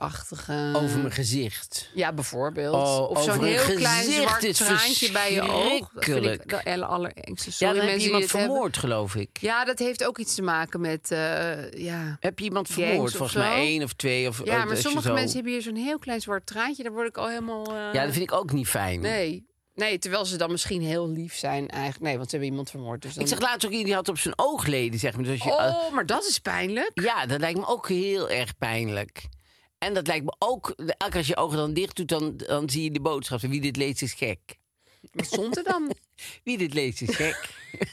Lose-achtige...
Over mijn gezicht.
Ja, bijvoorbeeld.
Oh,
of zo'n
over
heel
een
klein
gezicht
zwart
is
traantje bij je oog. Dat vind ik
verschrikkelijk.
de aller- allerengste.
Ja,
Sorry
dan heb je iemand
mensen die dit hebben.
vermoord, geloof ik.
Ja, dat heeft ook iets te maken met... eh, ja.
Heb je iemand
Gangs
vermoord?
of
Volgens
zo?
mij één of twee. Of,
ja,
eh,
maar
als je
sommige
zo-
mensen hebben hier zo'n heel klein zwart traantje. Daar word ik al helemaal... eh,
Ja, dat vind ik ook niet fijn.
Nee. Nee, terwijl ze dan misschien heel lief zijn eigenlijk. Nee, want ze hebben iemand vermoord. Dus dan...
Ik zag laatst ook iemand die had op zijn oogleden, zeg maar. Dus als je,
Oh, maar dat is pijnlijk.
Ja, dat lijkt me ook heel erg pijnlijk. En dat lijkt me ook... Elke keer als je ogen dan dicht doet, dan, dan zie je de boodschap. Wie dit leest is gek.
Wat stond er dan?
Wie dit leest is gek.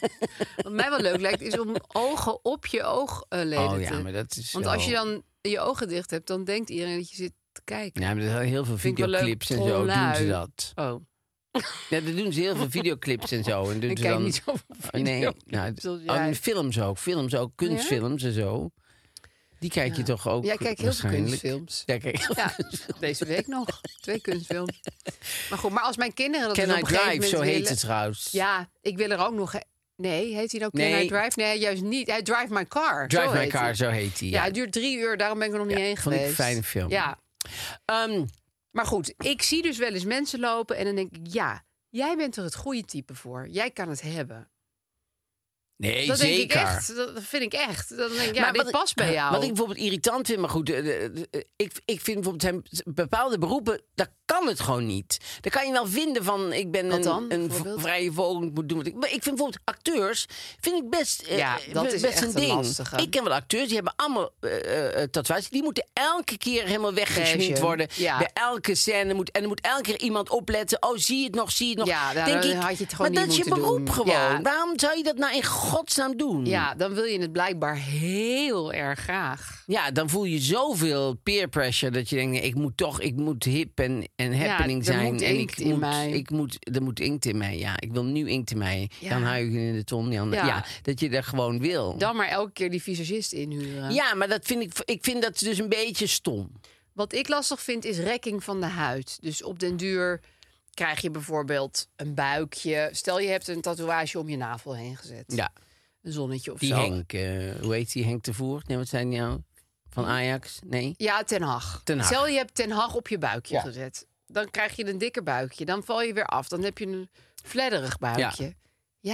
Wat mij wel leuk lijkt, is om ogen op je oogleden
oh ja,
te...
maar dat is
Want
wel-
als je dan je ogen dicht hebt, dan denkt iedereen dat je zit te kijken.
Ja, maar er zijn heel veel
Vind ik wel leuk.
videoclips en zo doen ze
Trollui.
dat.
Oh,
Ja, dat doen ze heel veel videoclips en zo. En doen
ik
ze
kijk
dan...
niet zoveel
Oh, nee,
video's
nou, het-
zoals
oh,
jij.
en films ook. Films ook, kunstfilms en zo. Die kijk je toch ook
Jij kijkt heel veel
waarschijnlijk?
kunstfilms.
Ja, kijk,
Ja, deze week nog. Twee kunstfilms. Maar goed, maar als mijn kinderen dat
Can
dus
I
op een gegeven
Drive,
moment
zo heet
willen-
het trouwens.
Ja, ik wil er ook nog... Nee, heet hij nou Can
Nee.
I Drive? Nee, juist niet. Hij Drive My Car.
Drive
zo
My
heet
Car,
hij.
zo heet hij.
Ja.
Ja.
het duurt drie uur, daarom ben ik er nog niet heen
vond ik
geweest.
een fijne film.
Ja,
Ehm,
Maar goed, ik zie dus wel eens mensen lopen en dan denk ik, ja, jij bent er het goede type voor. Jij kan het hebben.
nee,
dat
zeker.
denk ik echt. Dat dat vind ik echt. Dat denk ik, ja,
Maar
dit
wat-
past bij jou.
Wat ik bijvoorbeeld irritant vind, maar goed, eh, eh, eh, ik, ik vind bijvoorbeeld zijn bepaalde beroepen, dat kan kan het gewoon niet. Dan kan je wel vinden van, ik ben
Wat
een,
dan,
een v-
bijvoorbeeld?
vrije vogel, ik moet doen wat ik... Maar ik vind bijvoorbeeld acteurs, vind ik best, eh,
Ja,
eh,
dat
be-
is
best
echt
een
een
ding.
lastige.
Ik ken wel acteurs, die hebben allemaal eh, eh, tatoeages. Die moeten elke keer helemaal weggesminkt
Beige,
worden.
ja.
Bij elke scène. Moet, en er moet elke keer iemand opletten. Oh, zie je het nog, zie je het nog.
Ja, nou,
Denk
dan
ik,
had je het gewoon
Maar
niet
dat is je
moeten
beroep
doen.
gewoon.
Ja.
Waarom zou je dat nou in godsnaam doen?
Ja, dan wil je het blijkbaar heel erg graag.
Ja, dan voel je zoveel peer pressure dat je denkt: nee, ik moet toch, ik moet hip en, en happening
er
zijn.
moet
en
inkt
ik
in
moet,
mij.
ik moet, er moet inkt in mij. Ja, ik wil nu inkt in mij.
Ja.
Dan huig je in de ton. Jan. Ja.
Ja.
dat je er gewoon wil.
Dan maar elke keer die visagist inhuren.
Ja, maar dat vind ik, ik vind dat dus een beetje stom.
Wat ik lastig vind is rekking van de huid. Dus op den duur krijg je bijvoorbeeld een buikje. Stel je hebt een tatoeage om je navel heen gezet.
Ja,
Een zonnetje of
die
zo.
Henk, eh, hoe heet die Henk de Voer? Nee, wat zijn die nou? Van Ajax? Nee.
Ja, Ten Hag.
Ten Hag.
Stel je hebt Ten Hag op je buikje
Ja.
gezet. Dan krijg je een dikker buikje. Dan val je weer af. Dan heb je een fledderig buikje. Ja,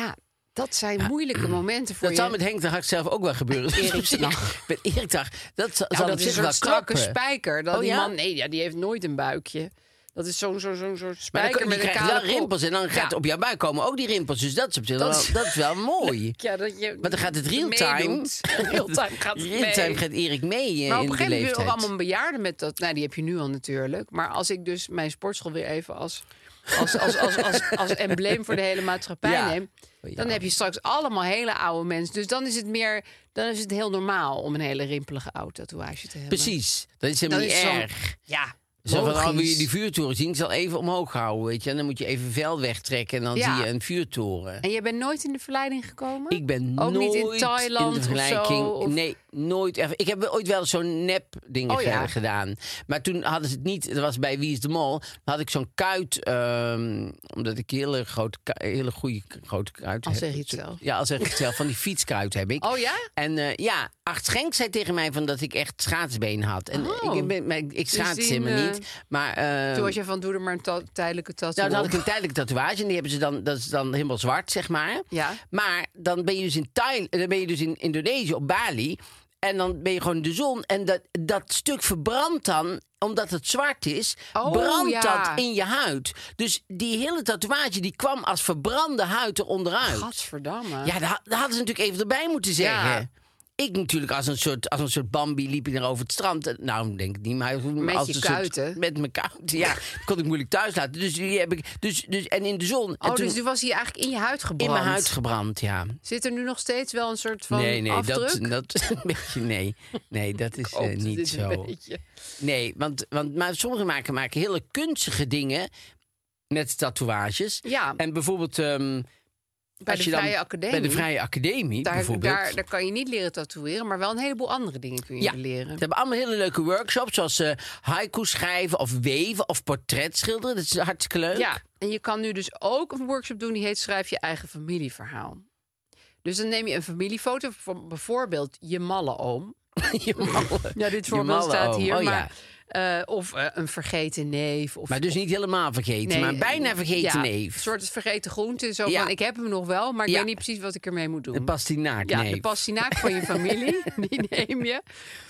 dat zijn moeilijke momenten voor
Dat
je.
zal met Henk de Hag zelf ook wel gebeuren.
Erik ten Hag.
Met Erik de Hag, Dat zal,
Nou,
zal op
dat is
zich
een soort
wel
strakke
krappen.
spijker. Dat
Oh,
die
ja?
man, nee, ja, die heeft nooit een buikje. Dat is zo'n zo'n zo'n zo'n
Maar dan,
spijker
kun- je
met een
krijgt
kale
wel
kop.
rimpels en dan gaat
Ja.
op jouw buik komen ook die rimpels. Dus dat is op zich
Dat
wel,
is-
dat is wel mooi.
Ja, dat je
Maar dan gaat het real-time.
meedoet. Real-time gaat het mee.
Real-time gaat Erik mee eh,
Maar op
in de
een gegeven moment wil
leeftijd.
ook allemaal bejaarden met dat. Nou, die heb je nu al natuurlijk. Maar als ik dus mijn sportschool weer even als, als, als, als, als, als embleem voor de hele maatschappij
Ja.
neem. Dan heb je straks allemaal hele oude mensen. Dus dan is het meer. Dan is het heel normaal om een hele rimpelige oude tatoeage te hebben.
Precies, dat is helemaal
Dat
niet
is zo'n-
erg.
Ja.
Zo van, oh, wil je
logisch.
die vuurtoren zien? Ik zal even omhoog houden, weet je. En dan moet je even vel wegtrekken en dan
Ja.
zie je een vuurtoren.
En jij bent nooit in de verleiding gekomen?
Ik ben
Ook
nooit
niet in Thailand
de
of zo,
vergelijking.
of-
Nee, nooit. Even. Ik heb wel ooit wel zo'n nep dingen
Oh, ja.
gedaan. Maar toen hadden ze het niet. Dat was bij Wie is de Mol. Dan had ik zo'n kuit. ehm, omdat ik hele, grote, ku- hele goede k- grote kuit
Al
heb.
zeg je het zelf.
Ja, als zeg ik het zelf. Van die fietskuit heb ik.
Oh ja?
En eh, ja, Acht Schenk zei tegen mij van dat ik echt schaatsbeen had. En
Oh.
ik, ben, maar ik, ik schaats
die,
helemaal
eh,
niet. Maar, eh,
Toen was jij van doe er maar een ta- tijdelijke tattoo.
nou, dan had
op.
ik een tijdelijke tatoeage en die hebben ze dan, dat is dan helemaal zwart, zeg maar.
Ja.
Maar dan ben je dus in Thailand, dan ben je dus in Indonesië op Bali. En dan ben je gewoon in de zon. En dat, dat stuk verbrandt dan, omdat het zwart is,
Oh,
brandt
ja.
dat in je huid. Dus die hele tatoeage die kwam als verbrande huid eronderuit.
Gadverdamme.
Ja, dat, dat hadden ze natuurlijk even erbij moeten zeggen.
Ja.
Ik natuurlijk als een soort, als een soort Bambi liep ik daar over het strand. En- Nou, denk ik niet, maar
Met
als
je
een Soort,
kuiten.
met mijn kuiten, ja. kon ik moeilijk thuis laten. Dus, die heb ik, dus, dus en in de zon. en
oh,
toen
dus toen was hij eigenlijk in je huid
in
gebrand.
mijn huid gebrand, ja.
Zit er nu nog steeds wel een soort van
nee, nee, dat,
afdruk?
dat is een beetje, nee. Nee, dat is eh,
Koopt het
niet
dit een
zo.
beetje?
Nee, want, want maar sommigen maken, maken hele kunstige dingen met tatoeages.
Ja,
En bijvoorbeeld... ehm,
bij
als
de
je dan-
Vrije Academie.
Bij de Vrije Academie,
daar,
bijvoorbeeld.
daar, daar kan je niet leren tatoeëren, maar wel een heleboel andere dingen kun je
Ja.
leren.
Ze hebben allemaal hele leuke workshops, zoals eh haiku schrijven of weven of portret schilderen. Dat is hartstikke leuk.
Ja, en je kan nu dus ook een workshop doen die heet Schrijf je eigen familieverhaal. Dus dan neem je een familiefoto van bijvoorbeeld je malle oom.
Je malle-
Ja, dit
je
voorbeeld
malle
staat
oom.
hier.
Oh, ja.
maar, eh, of eh, een vergeten neef. Of,
Maar dus niet helemaal vergeten,
Nee,
maar bijna vergeten
ja, Een
neef.
soort vergeten groente. Zo
Ja.
van, ik heb hem nog wel, maar ik
Ja.
weet niet precies wat ik ermee moet doen.
De pastinaak
ja,
neef.
de pastinaak van je familie, die neem je.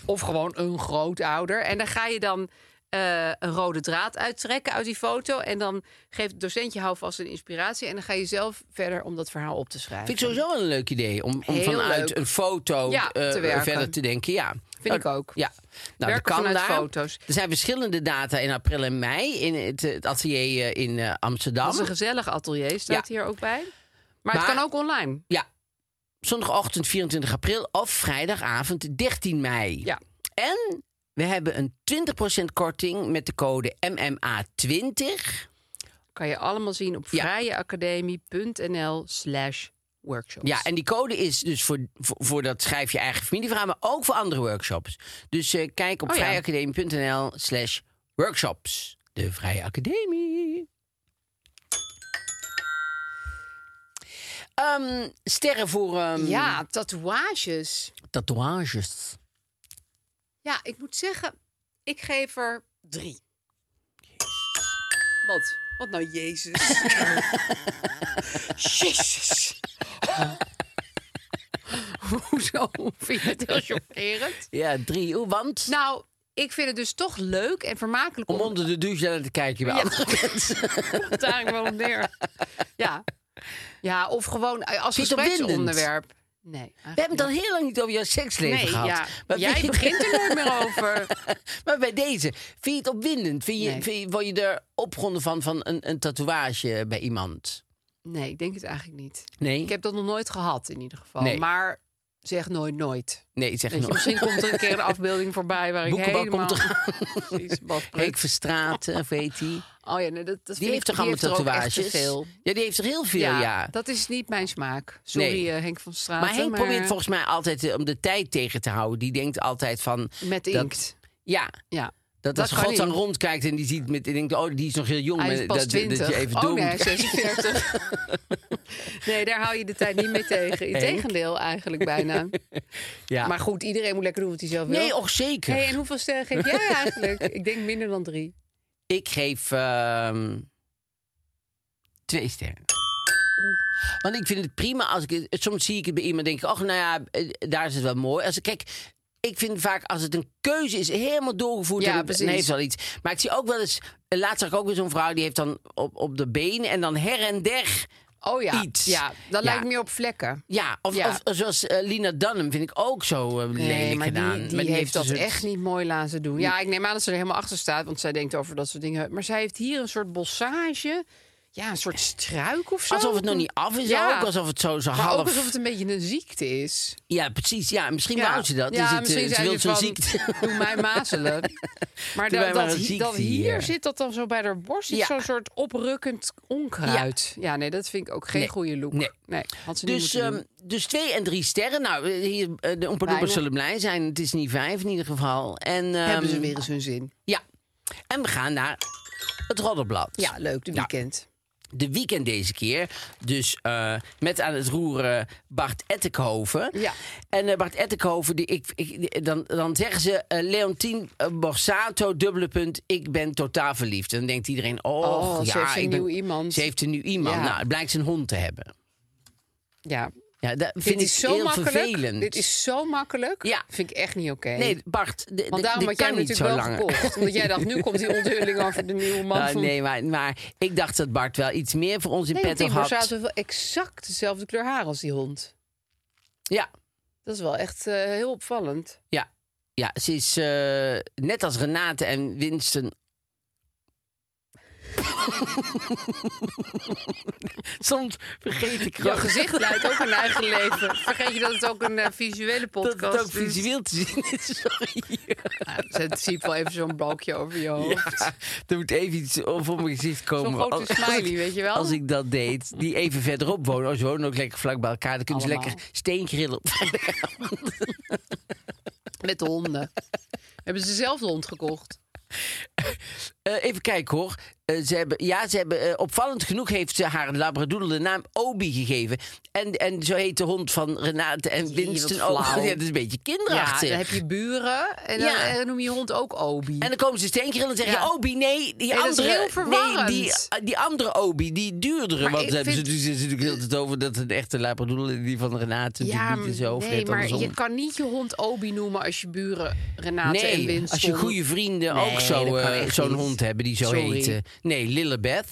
Of gewoon een grootouder. En daar ga je dan eh, een rode draad uittrekken uit die foto. En dan geeft het docentje houvast een inspiratie. En dan ga je zelf verder om dat verhaal op te schrijven.
Vind ik sowieso wel een leuk idee om, om
Heel
vanuit
leuk.
een foto
Ja,
eh,
te werken.
verder te denken. Ja,
Vind
Oh,
ik ook.
Ja, nou, dat
Werken
kan
vanuit
daar.
foto's.
Er zijn verschillende data in april en mei in het, eh, het atelier eh, in eh, Amsterdam.
Dat is een gezellig atelier, staat hier ook bij. Maar,
Maar-
het kan ook online.
Ja. Zondagochtend 24 april of vrijdagavond 13 mei.
Ja.
En we hebben een 20% korting met de code MMA20.
Kan je allemaal zien op
Ja.
vrijeacademie.nl slash workshops.
Ja, en die code is dus voor, voor, voor dat schrijf je eigen familieverhaal, maar ook voor andere workshops. Dus eh, kijk op
Oh ja.
vrijacademie.nl slash workshops. De Vrije Academie. Ehm, sterren voor ehm,
ja, tatoeages.
tatoeages.
Ja, ik moet zeggen, ik geef er drie. Wat? Wat nou, Jezus? Jezus! Hoezo? Vind je het heel chockerend?
Ja, drie. Oeh, want...
Nou, ik vind het dus toch leuk en vermakelijk
Om onder de douche naar te kijken bij
Ja.
andere mensen.
Komt daar eigenlijk wel op neer. Ja. ja, of gewoon eh, als
Pieter Windend.
gespreksonderwerp. Nee.
We
eigenlijk
hebben het al heel lang niet over jouw seksleven
Nee,
gehad.
ja.
Maar
Jij
vind je-
begint er nooit meer over.
maar bij deze, vind je het opwindend? Vind je,
Nee.
vind je- word je er opgewonden van, van een, een tatoeage bij iemand?
Nee, ik denk het eigenlijk niet.
Nee?
Ik heb dat nog nooit gehad in ieder geval.
Nee.
Maar zeg nooit nooit.
Nee, zeg
Weet je,
nog.
misschien komt er een keer een afbeelding voorbij waar ik
Boekenbal
helemaal...
komt
Precies, Bas
Henk
Prut.
Verstraten, of heet die?
Oh ja, nee, dat, dat
Die heeft toch allemaal tatoeages? Ja, die heeft toch heel veel, ja.
Ja, dat is niet mijn smaak. Sorry
Nee.
eh, Henk van Straat.
maar Henk probeert volgens mij altijd eh, om de tijd tegen te houden. Die denkt altijd van...
Met
dat-
inkt.
ja,
Ja.
dat,
Dat
als
kan
God dan
niet.
rondkijkt en die ziet met... Die denkt, oh, die is nog heel jong.
Hij is
eh,
pas
dat, dat
20.
je even
oh
door moet
nee,
kijken.
46. nee, daar hou je de tijd niet meer tegen. Integendeel eigenlijk bijna.
Ja.
Maar goed, iedereen moet lekker doen wat hij zelf wil.
nee, oh, och zeker.
Hey, en hoeveel sterren geef jij eigenlijk? Ik denk minder dan drie.
Ik geef ehm, twee sterren. Want ik vind het prima als ik het- soms zie ik het bij iemand en denk ik, oh nou ja, eh, daar is het wel mooi. Als ik kijk, ik vind vaak als het een keuze is, helemaal doorgevoerd.
Ja,
en het-
precies.
en heeft wel iets. Maar ik zie ook wel eens, eh, laatst zag ik ook weer zo'n vrouw die heeft dan op, op de benen en dan her en der.
Oh ja,
Iets.
ja dat
Ja.
lijkt meer op vlekken.
Ja, of,
Ja.
of zoals eh, Lina Dunham vind ik ook zo eh, lelijk
maar die,
gedaan.
die
Maar dus
heeft,
een
dat
soort-
echt niet mooi laten doen. Ja, ik neem aan dat ze er helemaal achter staat, want zij denkt over dat soort dingen. Maar zij heeft hier een soort bossage, ja, een soort struik of zo.
Alsof het nog niet af is
Ja.
ook, alsof het zo, zo
Maar
half...
ook alsof het een beetje een ziekte is.
Ja, precies. Ja, misschien
Ja.
wou ze dat.
Ja,
dus het,
misschien
eh, ze
zei
wil
ze
zo'n
van,
ziekte.
Doe mij mazelen. Maar
Doe
dat,
mij maar
dat,
een
hi-
ziekte
dat hier,
hier.
zit dat dan zo bij haar borst. zit
Ja.
Zo'n soort oprukkend onkruid. Ja. nee, dat vind ik ook geen
Nee.
goede look.
Nee.
had ze niet
Dus,
moeten
ehm,
doen.
dus twee en drie sterren. Nou, eh, hier, eh, de Oompa
Weinig.
zullen blij zijn. Het is niet vijf in ieder geval. En,
Hebben
ehm,
ze weer eens hun zin.
Ja. En we gaan naar het Roddelblad.
Ja, leuk, de weekend.
De weekend deze keer. Dus eh, met aan het roeren Bart Ettenkoven.
Ja.
En eh, Bart Ettenkoven, die, ik, ik- die- dan, dan zeggen ze... eh, Leontien eh, Borsato, dubbele punt, ik ben totaal verliefd. En dan denkt iedereen, oh,
Oh, ze
ja,
heeft een
ik ben-
nieuw iemand.
Ze heeft een nieuw iemand.
Ja.
Nou, het blijkt zijn hond te hebben.
Ja.
Ja, dat vind
Dit
ik
is zo
heel
makkelijk.
vervelend.
Dit is zo makkelijk.
Ja.
Vind ik echt niet oké.
Nee, Bart, de,
Want daarom had jij
kan niet
natuurlijk
zo lang.
wel gekocht. Omdat jij dacht, nu komt die onthulling over de nieuwe man
Nou,
van...
nee, maar, maar ik dacht dat Bart wel iets meer voor ons in
nee want
petto
die
had.
Borsato heeft wel exact dezelfde kleur haar als die hond.
Ja,
Dat is wel echt eh, heel opvallend.
ja, ja, ze is eh, net als Renate en Winston. Soms vergeet ik
Jouw
gewoon
gezicht leidt ook een eigen leven. Vergeet je dat het ook een eh, visuele
dat
podcast
het ook
is. Nou,
visueel te zien is. Sorry.
Ja, zet zie ik wel even zo'n balkje over je hoofd.
Ja, er moet even iets over mijn gezicht komen.
grote smiley, weet je wel?
Als ik dat deed, die even verderop wonen. Oh, ze wonen ook lekker vlak bij elkaar. Dan kunnen ze
Allemaal.
lekker steengrillen. op vrijdagavond.
Met de honden. Hebben ze zelf de hond gekocht?
Eh, even kijken hoor. Eh, ze hebben, ja, ze hebben, eh, opvallend genoeg heeft ze haar labradoodle de naam Obi gegeven. En, en zo heet de hond van Renate en
Jee,
Winston
wat
ook. Ja,
flauw.
dat is een beetje
Ja,
kinderachtig.
dan heb je buren en dan
Ja.
eh, noem je je hond ook Obi.
En dan komen ze steengrillen en zeggen
Ja.
je, Obi, nee, die
dat is
andere,
heel
nee,
verwarrend.
die, eh, die andere Obi, die duurdere.
Maar
want
ik
ze hebben ze
vind-
natuurlijk ze zitten natuurlijk heel het over dat een echte labradoodle die van Renate natuurlijk niet is zo. of
nee,
net
maar
andersom.
je kan niet je hond Obi noemen als je buren Renate en
Nee,
Winston.
als je goede vrienden
Nee,
ook zo,
dat kan
eh,
echt
zo'n
niet.
hond hebben die zo
Sorry.
heet. Nee, Lillebeth.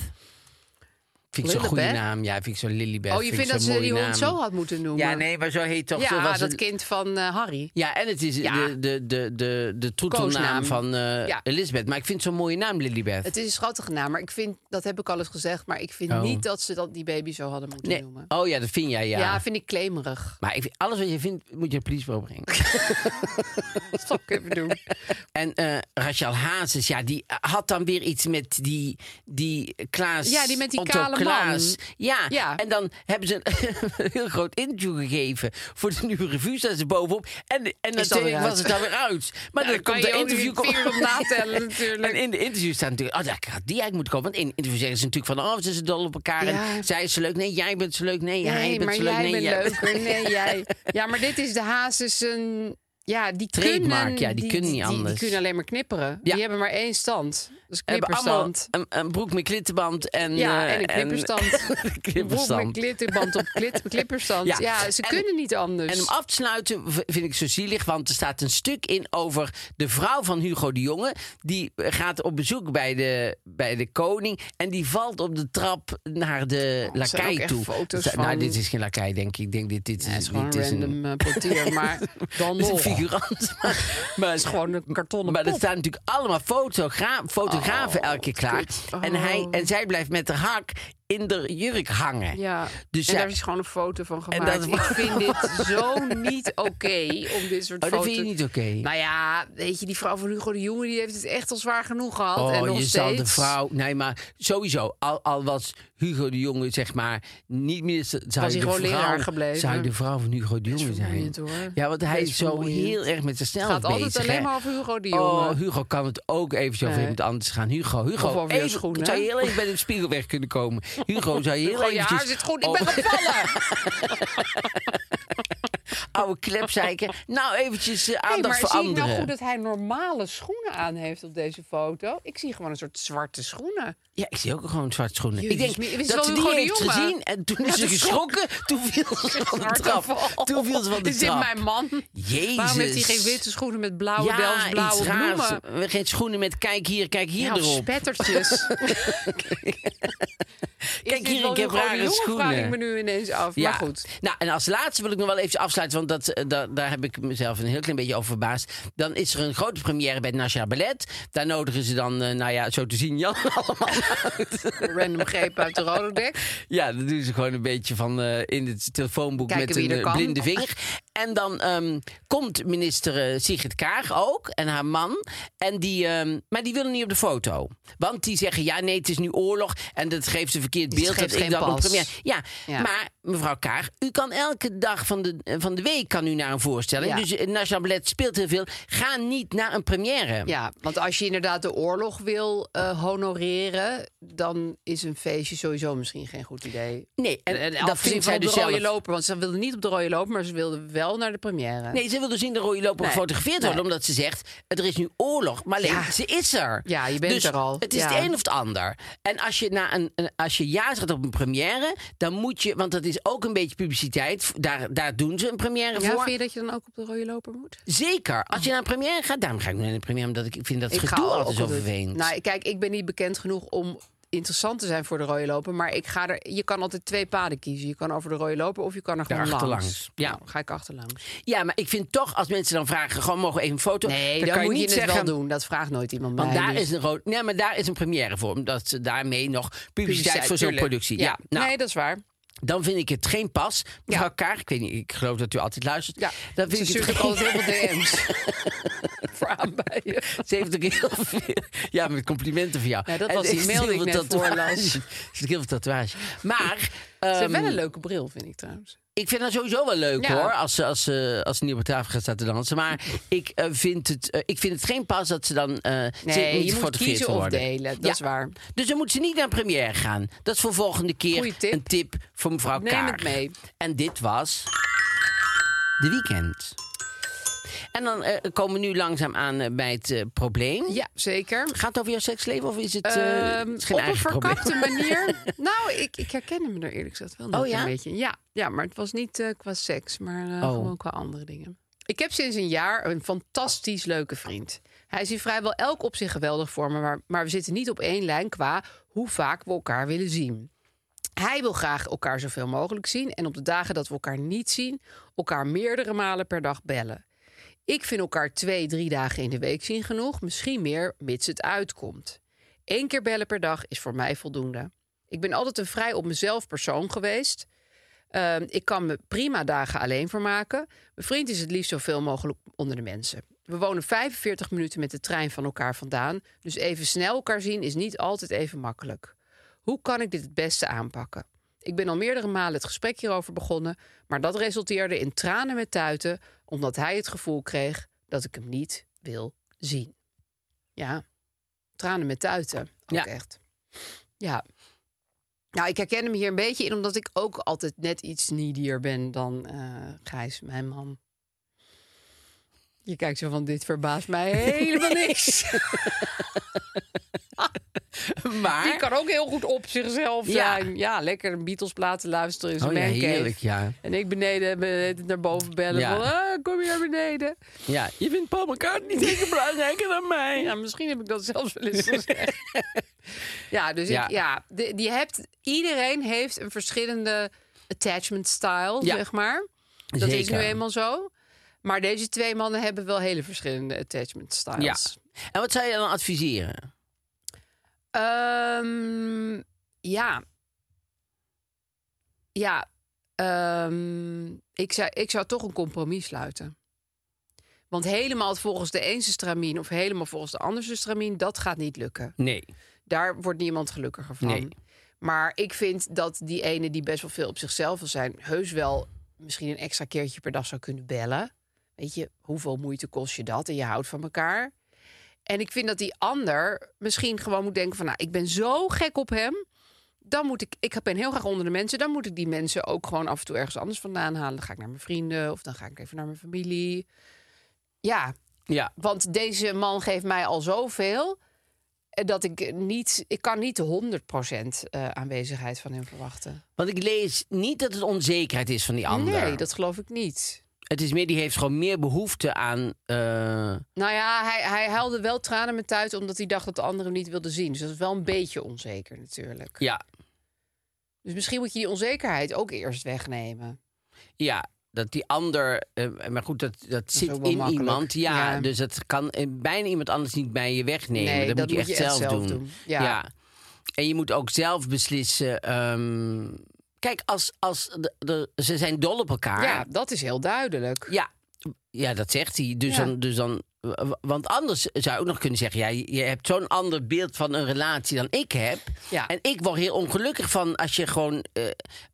Vind ik zo'n goede
Lillebeth?
naam. Ja, vind ik zo Lillibeth.
Oh, je vindt dat ze die hond zo had moeten noemen?
Ja, nee, maar zo heet toch... zo
Ja,
was
dat
het...
kind van eh, Harry.
Ja, en het is
Ja.
de, de, de, de, de troetelnaam
Koosnaam.
van eh
Ja.
Elisabeth. Maar ik vind zo'n mooie naam, Lillibeth.
Het is een schattige naam, maar ik vind, dat heb ik al eens gezegd, maar ik vind
Oh.
niet dat ze dat, die baby zo hadden moeten
nee.
noemen.
Oh ja, dat vind jij, ja.
Ja. vind ik klemerig.
Maar ik vind- alles wat je vindt, moet je naar Poliesbureau brengen.
Dat zal ik even doen.
en eh Rachel Hazes, ja, die eh, had dan weer iets met die, die Klaas...
Ja, die met die
Otto
kale man.
Klaas. Ja.
Ja.
en dan hebben ze een, heel groot interview gegeven voor de nieuwe revue. Staan ze bovenop en, en
Is dat weer
natuurlijk
uit.
was het dan weer uit. Maar
Ja,
dan
kan
komt de
je ook
interview...
niet vier op natellen natuurlijk.
En in de interview staan natuurlijk... Oh, daar gaat die eigenlijk moeten komen. Want in de interview zeggen ze natuurlijk van... Oh, ze zijn dol op elkaar.
Ja.
En zij is zo leuk. Nee, jij bent zo leuk. Nee, hij
Nee,
bent
maar
zo leuk.
jij
nee,
bent
jij bent-
leuker. Nee, jij. Ja, maar dit is de Hazes een Ja, die
Trademark,
kunnen,
ja, die kunnen niet
Die,
anders.
kunnen alleen maar knipperen.
Ja.
Die hebben maar één stand. Dus
hebben allemaal
knipperstand.
een, een broek met klittenband en...
Ja,
eh,
en een knipperstand.
een
Broek met
knipperstand.
glitterband op glit- klipperstand.
Ja.
Ja, ze
En-
kunnen niet anders.
En om af te sluiten v- vind ik zo zielig, want er staat een stuk in over de vrouw van Hugo de Jonge. Die eh, gaat op bezoek bij de, bij de koning en die valt op de trap naar de
Oh, er zijn ook
lakai
echt
toe.
foto's
Sta- nou,
van-
dit is geen lakai, denk ik. Ik denk dit, dit is,
Ja, het is gewoon
dit
een
is
random eh, portier, maar dan
dit is
nog.
een figurant. Maar, maar
Het is gewoon een kartonnen
Maar er
pop.
staan natuurlijk allemaal fotogra- fotografen
Oh,
elke keer klaar. En, hij, en zij blijft met haar hak in de jurk hangen.
Ja,
Dus
en
ja-
daar is gewoon een foto van gemaakt.
dat-
Ik vind dit zo niet oké om dit soort
Oh, dat
foto's...
vind je niet oké?
Nou ja, weet je, die vrouw van Hugo de Jonge... die heeft het echt al zwaar genoeg gehad. en
Oh,
nog
je
steeds.
zal de vrouw... Nee, maar sowieso. Al, al was Hugo de Jonge, zeg maar, niet minister... Zou
Was
je
hij
de
gewoon
vrouw,
leraar gebleven?
Zou je de vrouw van Hugo de Jonge zijn?
vermoeiend, hoor.
Ja, want hij
Best
is zo
vermoeiend.
heel erg met zichzelf
Het gaat
bezig.
altijd alleen
hè?
maar over Hugo de
Oh,
Jonge.
Hugo kan het ook eventjes over
Nee.
iemand anders gaan. Hugo, Hugo,
Of over je
even,
schoenen,
zou je
hè?
heel even bij de spiegel weg kunnen komen? Hugo, zou je heel
Hugo, je
eventjes...
haar zit goed. Ik
Oh.
ben gevallen.
oude klepzeiker. Nou, eventjes eh,
Hey,
aandacht voor
maar zie ik
anderen.
nou goed dat hij normale schoenen aan heeft op deze foto? Ik zie gewoon een soort zwarte schoenen.
Ja, ik zie ook gewoon zwart schoenen.
Jezus,
ik
maar het
denk
is
dat
wel
ze die
Hugo de
heeft
Jonge.
gezien en toen is ze geschrokken. Toen viel ze van de
Hard
trap.
geval.
Toen viel ze van de
Is dit
trap.
mijn man?
Jezus.
Waarom heeft hij geen witte schoenen met blauwe
ja,
bels, blauwe
iets raars.
bloemen? Nou,
Geen schoenen met kijk hier, kijk hier
Ja, of
erop.
spettertjes.
Kijk hier, ik heb rare schoenen.
vraag ik me nu ineens af. Maar goed.
Nou, en als laatste wil ik nog wel even afsluiten, want dat, eh, da- daar heb ik mezelf een heel klein beetje over verbaasd. Dan is er een grote première bij het Nationaal Ballet. Daar nodigen ze dan, eh, nou ja, zo te zien, Jan allemaal uit.
Random greep uit de Rolodex.
Ja, dat doen ze gewoon een beetje van eh, in het telefoonboek
Kijken
met
wie
een
er
eh,
kan.
blinde vinger. En dan ehm, komt minister eh, Sigrid Kaag ook en haar man. En die, ehm, maar die willen niet op de foto. Want die zeggen, ja nee, het is nu oorlog. En dat geeft een verkeerd
Dus het
beeld. Dat
geeft
ik
geen
dan een
pas.
première... Ja,
Ja.
maar mevrouw Kaag, u kan elke dag van de, eh, van de week kan u naar een voorstelling.
Ja.
Dus het Nationaal Ballet speelt heel veel. Ga niet naar een première.
Ja, want als je inderdaad de oorlog wil eh, honoreren... dan is een feestje sowieso misschien geen goed idee.
Nee, en, en dat
vindt
vindt zij
op
dus
de rode
zelf.
loper. Want ze wilden niet op de rode loper, maar ze wilden wel naar de première.
Nee, ze wil dus in de rode loper
Nee.
gefotografeerd worden.
Nee.
Omdat ze zegt, er is nu oorlog. Maar alleen,
Ja.
ze is er.
Ja, je bent
dus
er al.
het is
Ja.
het een of het ander. En als je, na een, een- als je ja zegt op een première, dan moet je... Want dat is ook een beetje publiciteit. Daar, daar doen ze een première
Ja,
voor.
vind je dat je dan ook op de rode loper moet?
Zeker. Als je naar een première gaat, daarom ga ik nu naar een première. Omdat ik vind dat het
Ik ga
gedoe
ook
altijd zo
altijd-
vervelend.
Nou, kijk, ik ben niet bekend genoeg om interessant te zijn voor de rode loper. Maar ik ga er, je kan altijd twee paden kiezen. Je kan over de rode loper of je kan er gewoon
achterlangs.
langs.
Ja.
Nou, ga ik achterlangs.
ja, maar ik vind toch, als mensen dan vragen... gewoon mogen we even een foto...
Nee,
dan,
dan,
kan
moet
je
je,
niet
het
zeggen...
wel doen. Dat vraagt nooit iemand
Want
mij.
daar
dus-
is een rood. Nee, maar daar is een première voor. Omdat ze daarmee nog publiciteit, voor zo'n
tuurlijk.
productie.
Ja.
Ja, nou,
Nee, dat is waar.
dan vind ik het geen pas. Mevrouw Kaag, ik weet niet, ik geloof dat u altijd luistert.
Ja,
dan vind
ze
ik
stuurt
het
ook
geen-
altijd heel veel DM's. voor aanbijen.
Ze heeft ook heel veel... Ja, met complimenten voor jou.
Ja, dat
En
was die
ze heeft
mail die
heel
ik
veel
net voorlas.
tatoeages. Ze heeft heel veel tatoeage. Maar...
Ze
ehm,
heeft wel een leuke bril, vind ik trouwens.
ik vind dat sowieso wel leuk
Ja.
hoor, als ze, als, ze, als ze niet op de tafel gaat staan te dansen. Maar ik, eh, vind het, eh, ik vind het geen pas dat ze dan eh ze niet
Nee, je moet
gefotografeerd
kiezen
wil
of
worden.
delen. Dat
Ja.
is waar.
Dus dan moet ze niet naar een première gaan. Dat is voor volgende keer
Goeie tip.
een tip voor mevrouw
Neem
Kaag.
het mee.
En dit was... De Weekend. En dan eh, komen we nu langzaam aan eh, bij het eh, probleem.
Ja, zeker.
Gaat het over jouw seksleven of is het, eh,
Ehm,
het is geen
op een
eigen probleem?
verkapte manier. nou, ik, ik herkende me er eerlijk gezegd wel nog
Oh, ja?
een beetje. in. Ja, ja, maar het was niet eh, qua seks, maar eh,
Oh.
gewoon qua andere dingen. Ik heb sinds een jaar een fantastisch leuke vriend. Hij is in vrijwel elk opzicht geweldig voor me, maar, maar we zitten niet op één lijn qua hoe vaak we elkaar willen zien. Hij wil graag elkaar zoveel mogelijk zien en op de dagen dat we elkaar niet zien, elkaar meerdere malen per dag bellen. Ik vind elkaar twee, drie dagen in de week zien genoeg, misschien meer, mits het uitkomt. Eén keer bellen per dag is voor mij voldoende. Ik ben altijd een vrij op mezelf persoon geweest. Ehm, ik kan me prima dagen alleen vermaken. Mijn vriend is het liefst zoveel mogelijk onder de mensen. We wonen 45 minuten met de trein van elkaar vandaan, dus even snel elkaar zien is niet altijd even makkelijk. Hoe kan ik dit het beste aanpakken? Ik ben al meerdere malen het gesprek hierover begonnen, maar dat resulteerde in tranen met tuiten, omdat hij het gevoel kreeg dat ik hem niet wil zien. Ja, tranen met tuiten. Ook
Ja.
echt. Ja. Nou, ik herken hem hier een beetje in, omdat ik ook altijd net iets needier ben dan eh Gijs, mijn man. Je kijkt zo van, dit verbaast mij helemaal niks.
Maar...
Die kan ook heel goed op zichzelf
Ja.
zijn. Ja, lekker een Beatles platen luisteren in zijn
Oh ja,
mancave.
heerlijk, ja.
En ik beneden eh, naar boven bellen.
Ja.
Van, ah, kom je naar beneden?
ja. Je vindt Paul McCartney niet zeker belangrijker dan mij.
Ja, misschien heb ik dat zelfs wel eens gezegd. ja, dus
Ja.
Ik, ja, de- die hebt, iedereen heeft een verschillende attachment style,
Ja.
zeg maar. Dat is nu
Zeker.
eenmaal zo. Maar deze twee mannen hebben wel hele verschillende attachment styles.
Ja. En wat zou je dan adviseren?
Ehm, ja. Ja. ehm, ik, zou, ik zou toch een compromis sluiten. Want helemaal volgens de ene stramien of helemaal volgens de andere stramien, dat gaat niet lukken.
Nee.
Daar wordt niemand gelukkiger van.
Nee.
Maar ik vind dat die ene die best wel veel op zichzelf wil zijn, heus wel misschien een extra keertje per dag zou kunnen bellen. Weet je, hoeveel moeite kost je dat? En je houdt van elkaar. En ik vind dat die ander misschien gewoon moet denken van... nou, ik ben zo gek op hem. Dan moet ik, ik ben heel graag onder de mensen. Dan moet ik die mensen ook gewoon af en toe ergens anders vandaan halen. Dan ga ik naar mijn vrienden of dan ga ik even naar mijn familie. Ja,
Ja.
want deze man geeft mij al zoveel... eh, dat ik niet... Ik kan niet de 100% eh, aanwezigheid van hem verwachten.
Want ik lees niet dat het onzekerheid is van die ander.
Nee, dat geloof ik niet.
Het is meer, die heeft gewoon meer behoefte aan... eh,
Nou ja, hij, hij huilde wel tranen met uit omdat hij dacht dat de anderen hem niet wilden zien. Dus dat is wel een beetje onzeker natuurlijk.
ja,
Dus misschien moet je die onzekerheid ook eerst wegnemen.
ja, dat die ander... eh, maar goed, dat, dat, zit
ook
in
wel makkelijk.
iemand. Ja,
Ja.
dus dat kan eh, bijna iemand anders niet bij je wegnemen.
Nee,
dat,
dat
moet je echt zelf, doen.
Ja.
En je moet ook zelf beslissen... ehm, kijk, als, als de, de- ze zijn dol op elkaar...
Ja, dat is heel duidelijk.
Ja, ja dat zegt hij. Dus
Ja.
dan. Dus dan w- want anders zou je ook nog kunnen zeggen: ja, je je hebt zo'n ander beeld van een relatie dan ik heb.
Ja.
En ik word heel ongelukkig van als je gewoon eh,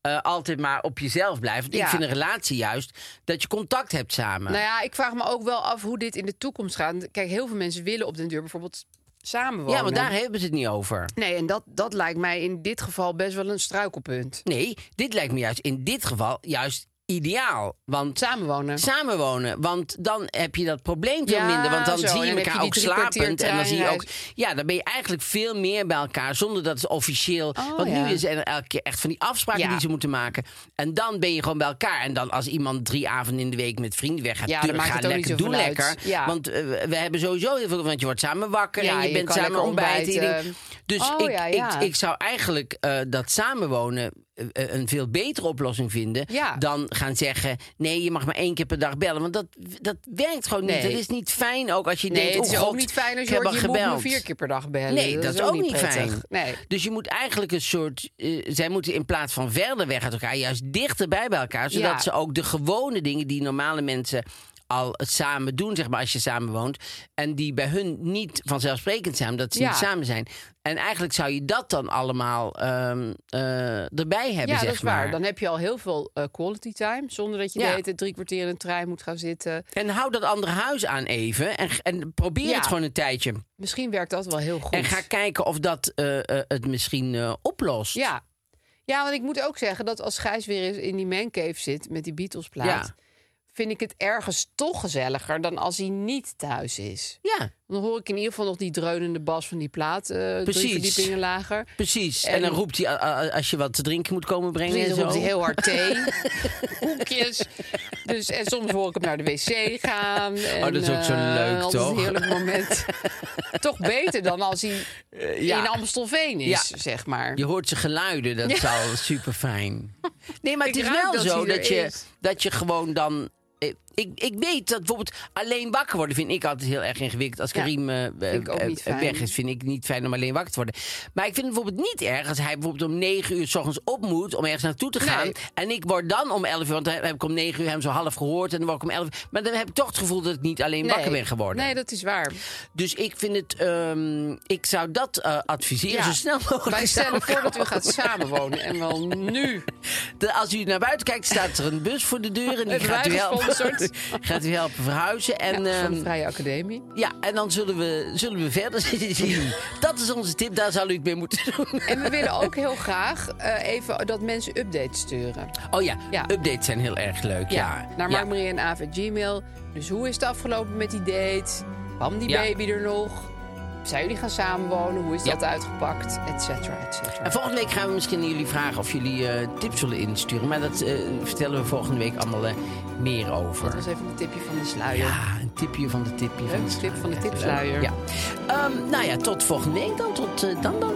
eh, altijd maar op jezelf blijft. Want
Ja.
Ik vind een relatie juist dat je contact hebt samen.
Nou ja, ik vraag me ook wel af hoe dit in de toekomst gaat. Kijk, heel veel mensen willen op den duur bijvoorbeeld samenwonen.
ja, want daar hebben ze het niet over.
Nee, en dat, dat lijkt mij in dit geval best wel een struikelpunt.
Nee, dit lijkt me juist in dit geval juist ideaal. Want
Samenwonen.
samenwonen. Want dan heb je dat probleem veel
Ja,
minder. Want dan
zo,
zie
en
je
dan heb je
elkaar
die
ook
drie kwartier
slapend. En dan zie je ook.
treinreis.
Ja, dan ben je eigenlijk veel meer bij elkaar. Zonder dat het officieel.
Oh,
want
ja.
nu zijn er elke keer echt van die afspraken
Ja.
die ze moeten maken. En dan ben je gewoon bij elkaar. En dan als iemand drie avonden in de week met vrienden weg gaat.
Ja, dan
tuurlijk,
maakt
ga
het ook niet
lekker, doe
zoveel uit.
lekker.
Ja.
Want eh, we hebben sowieso heel veel. Want je wordt samen wakker.
Ja,
en je,
je
bent
kan
samen
lekker
ontbijten.
ontbijten.
Dus
Oh,
ik,
ja,
ik-
ja.
Ik, zou eigenlijk eh, dat samenwonen eh, eh, een veel betere oplossing vinden.
Ja.
Dan dan gaan zeggen: nee, je mag maar één keer per dag bellen. Want dat, dat werkt gewoon niet.
Nee.
Dat is niet fijn ook als je
Nee,
denkt:
het is
oh,
ook
God,
niet fijn als
ik
je
heb
hoort, je
al
moet
gebeld.
me vier keer per dag bellen.
Nee, dat, is ook, niet
prettig.
fijn.
Nee.
Dus je moet eigenlijk een soort. eh, zij moeten in plaats van verder weg uit elkaar, juist dichterbij bij elkaar. Zodat
Ja.
ze ook de gewone dingen die normale mensen al samen doen, zeg maar, als je samen woont. En die bij hun niet vanzelfsprekend zijn, omdat ze
Ja.
niet samen zijn. En eigenlijk zou je dat dan allemaal ehm, eh, erbij hebben,
Ja,
zeg
dat is waar.
maar.
Dan heb je al heel veel eh, quality time. Zonder dat je
Ja.
de hele tijd drie kwartier in een trein moet gaan zitten.
En hou dat andere huis aan even. En, en probeer
Ja.
het gewoon een tijdje.
Misschien werkt dat wel heel goed.
En ga kijken of dat eh, eh, het misschien eh, oplost.
ja. ja, want ik moet ook zeggen dat als Gijs weer eens in die mancave zit met die Beatles plaat...
Ja.
vind ik het ergens toch gezelliger dan als hij niet thuis is.
Ja,
Dan hoor ik in ieder geval nog die dreunende bas van die plaat eh drie
Precies.
verdiepingen lager.
precies. En,
En-
dan roept hij eh, eh, als je wat te drinken moet komen brengen.
Precies,
en
dan
zo.
roept hij heel hard thee, koekjes. Dus, en soms hoor ik hem naar de wc gaan. En,
Oh, dat is ook zo
eh,
leuk,
altijd
toch?
een heerlijk moment. toch beter dan als hij
Eh, ja.
in Amstelveen is,
Ja.
zeg maar.
Je hoort zijn geluiden, dat is al super fijn. Nee, maar het
Ik
is
ruik
wel
dat
zo
hij er
dat je,
is.
dat je gewoon dan. eh, Ik, ik weet dat bijvoorbeeld alleen wakker worden vind ik altijd heel erg ingewikkeld. Als
Ja,
Karim eh,
ik ook
eh,
niet
eh,
fijn.
weg is, vind ik niet fijn om alleen wakker te worden. Maar ik vind het bijvoorbeeld niet erg als hij bijvoorbeeld om 9 uur s ochtends op moet om ergens naartoe te gaan.
Nee.
En ik word dan om 11 uur, want dan heb ik om 9 uur hem zo half gehoord en dan word ik om 11 uur. Maar dan heb ik toch het gevoel dat ik niet alleen wakker ben geworden.
Nee, dat is waar.
Dus ik vind het, ehm, ik zou dat eh, adviseren
Ja.
zo snel mogelijk.
Wij stellen voor dat u
samenkomen.
gaat samenwonen. En wel nu.
De- als u naar buiten kijkt, staat er een bus voor de deur. En die
Hebben
gaat
wij
u helpen.
gesponsord.
Gaat u helpen verhuizen. En,
ja, van de
ehm,
Vrije Academie.
ja, en dan zullen we, zullen we verder zien. Dat is onze tip, daar zou u het mee moeten doen.
En we willen ook heel graag eh, even dat mensen updates sturen.
Oh ja,
Ja.
updates zijn heel erg leuk. Ja,
Naar
Ja.
markmarie en Aaf at Gmail. Dus hoe is het afgelopen met die date? Kwam die
Ja.
baby er nog? Zijn jullie gaan samenwonen? Hoe is
Ja.
dat uitgepakt? Et cetera, et cetera.
En volgende week gaan we misschien aan jullie vragen of jullie eh, tips zullen insturen. Maar dat eh, vertellen we volgende week allemaal eh, meer over.
Dat was even een tipje van de sluier.
Ja, een tipje van de tipje.
Leuk,
van de
tip van de
Ja,
tipsluier.
leuk. Ja. Ehm, nou ja, tot volgende week dan. Tot eh, dan dan.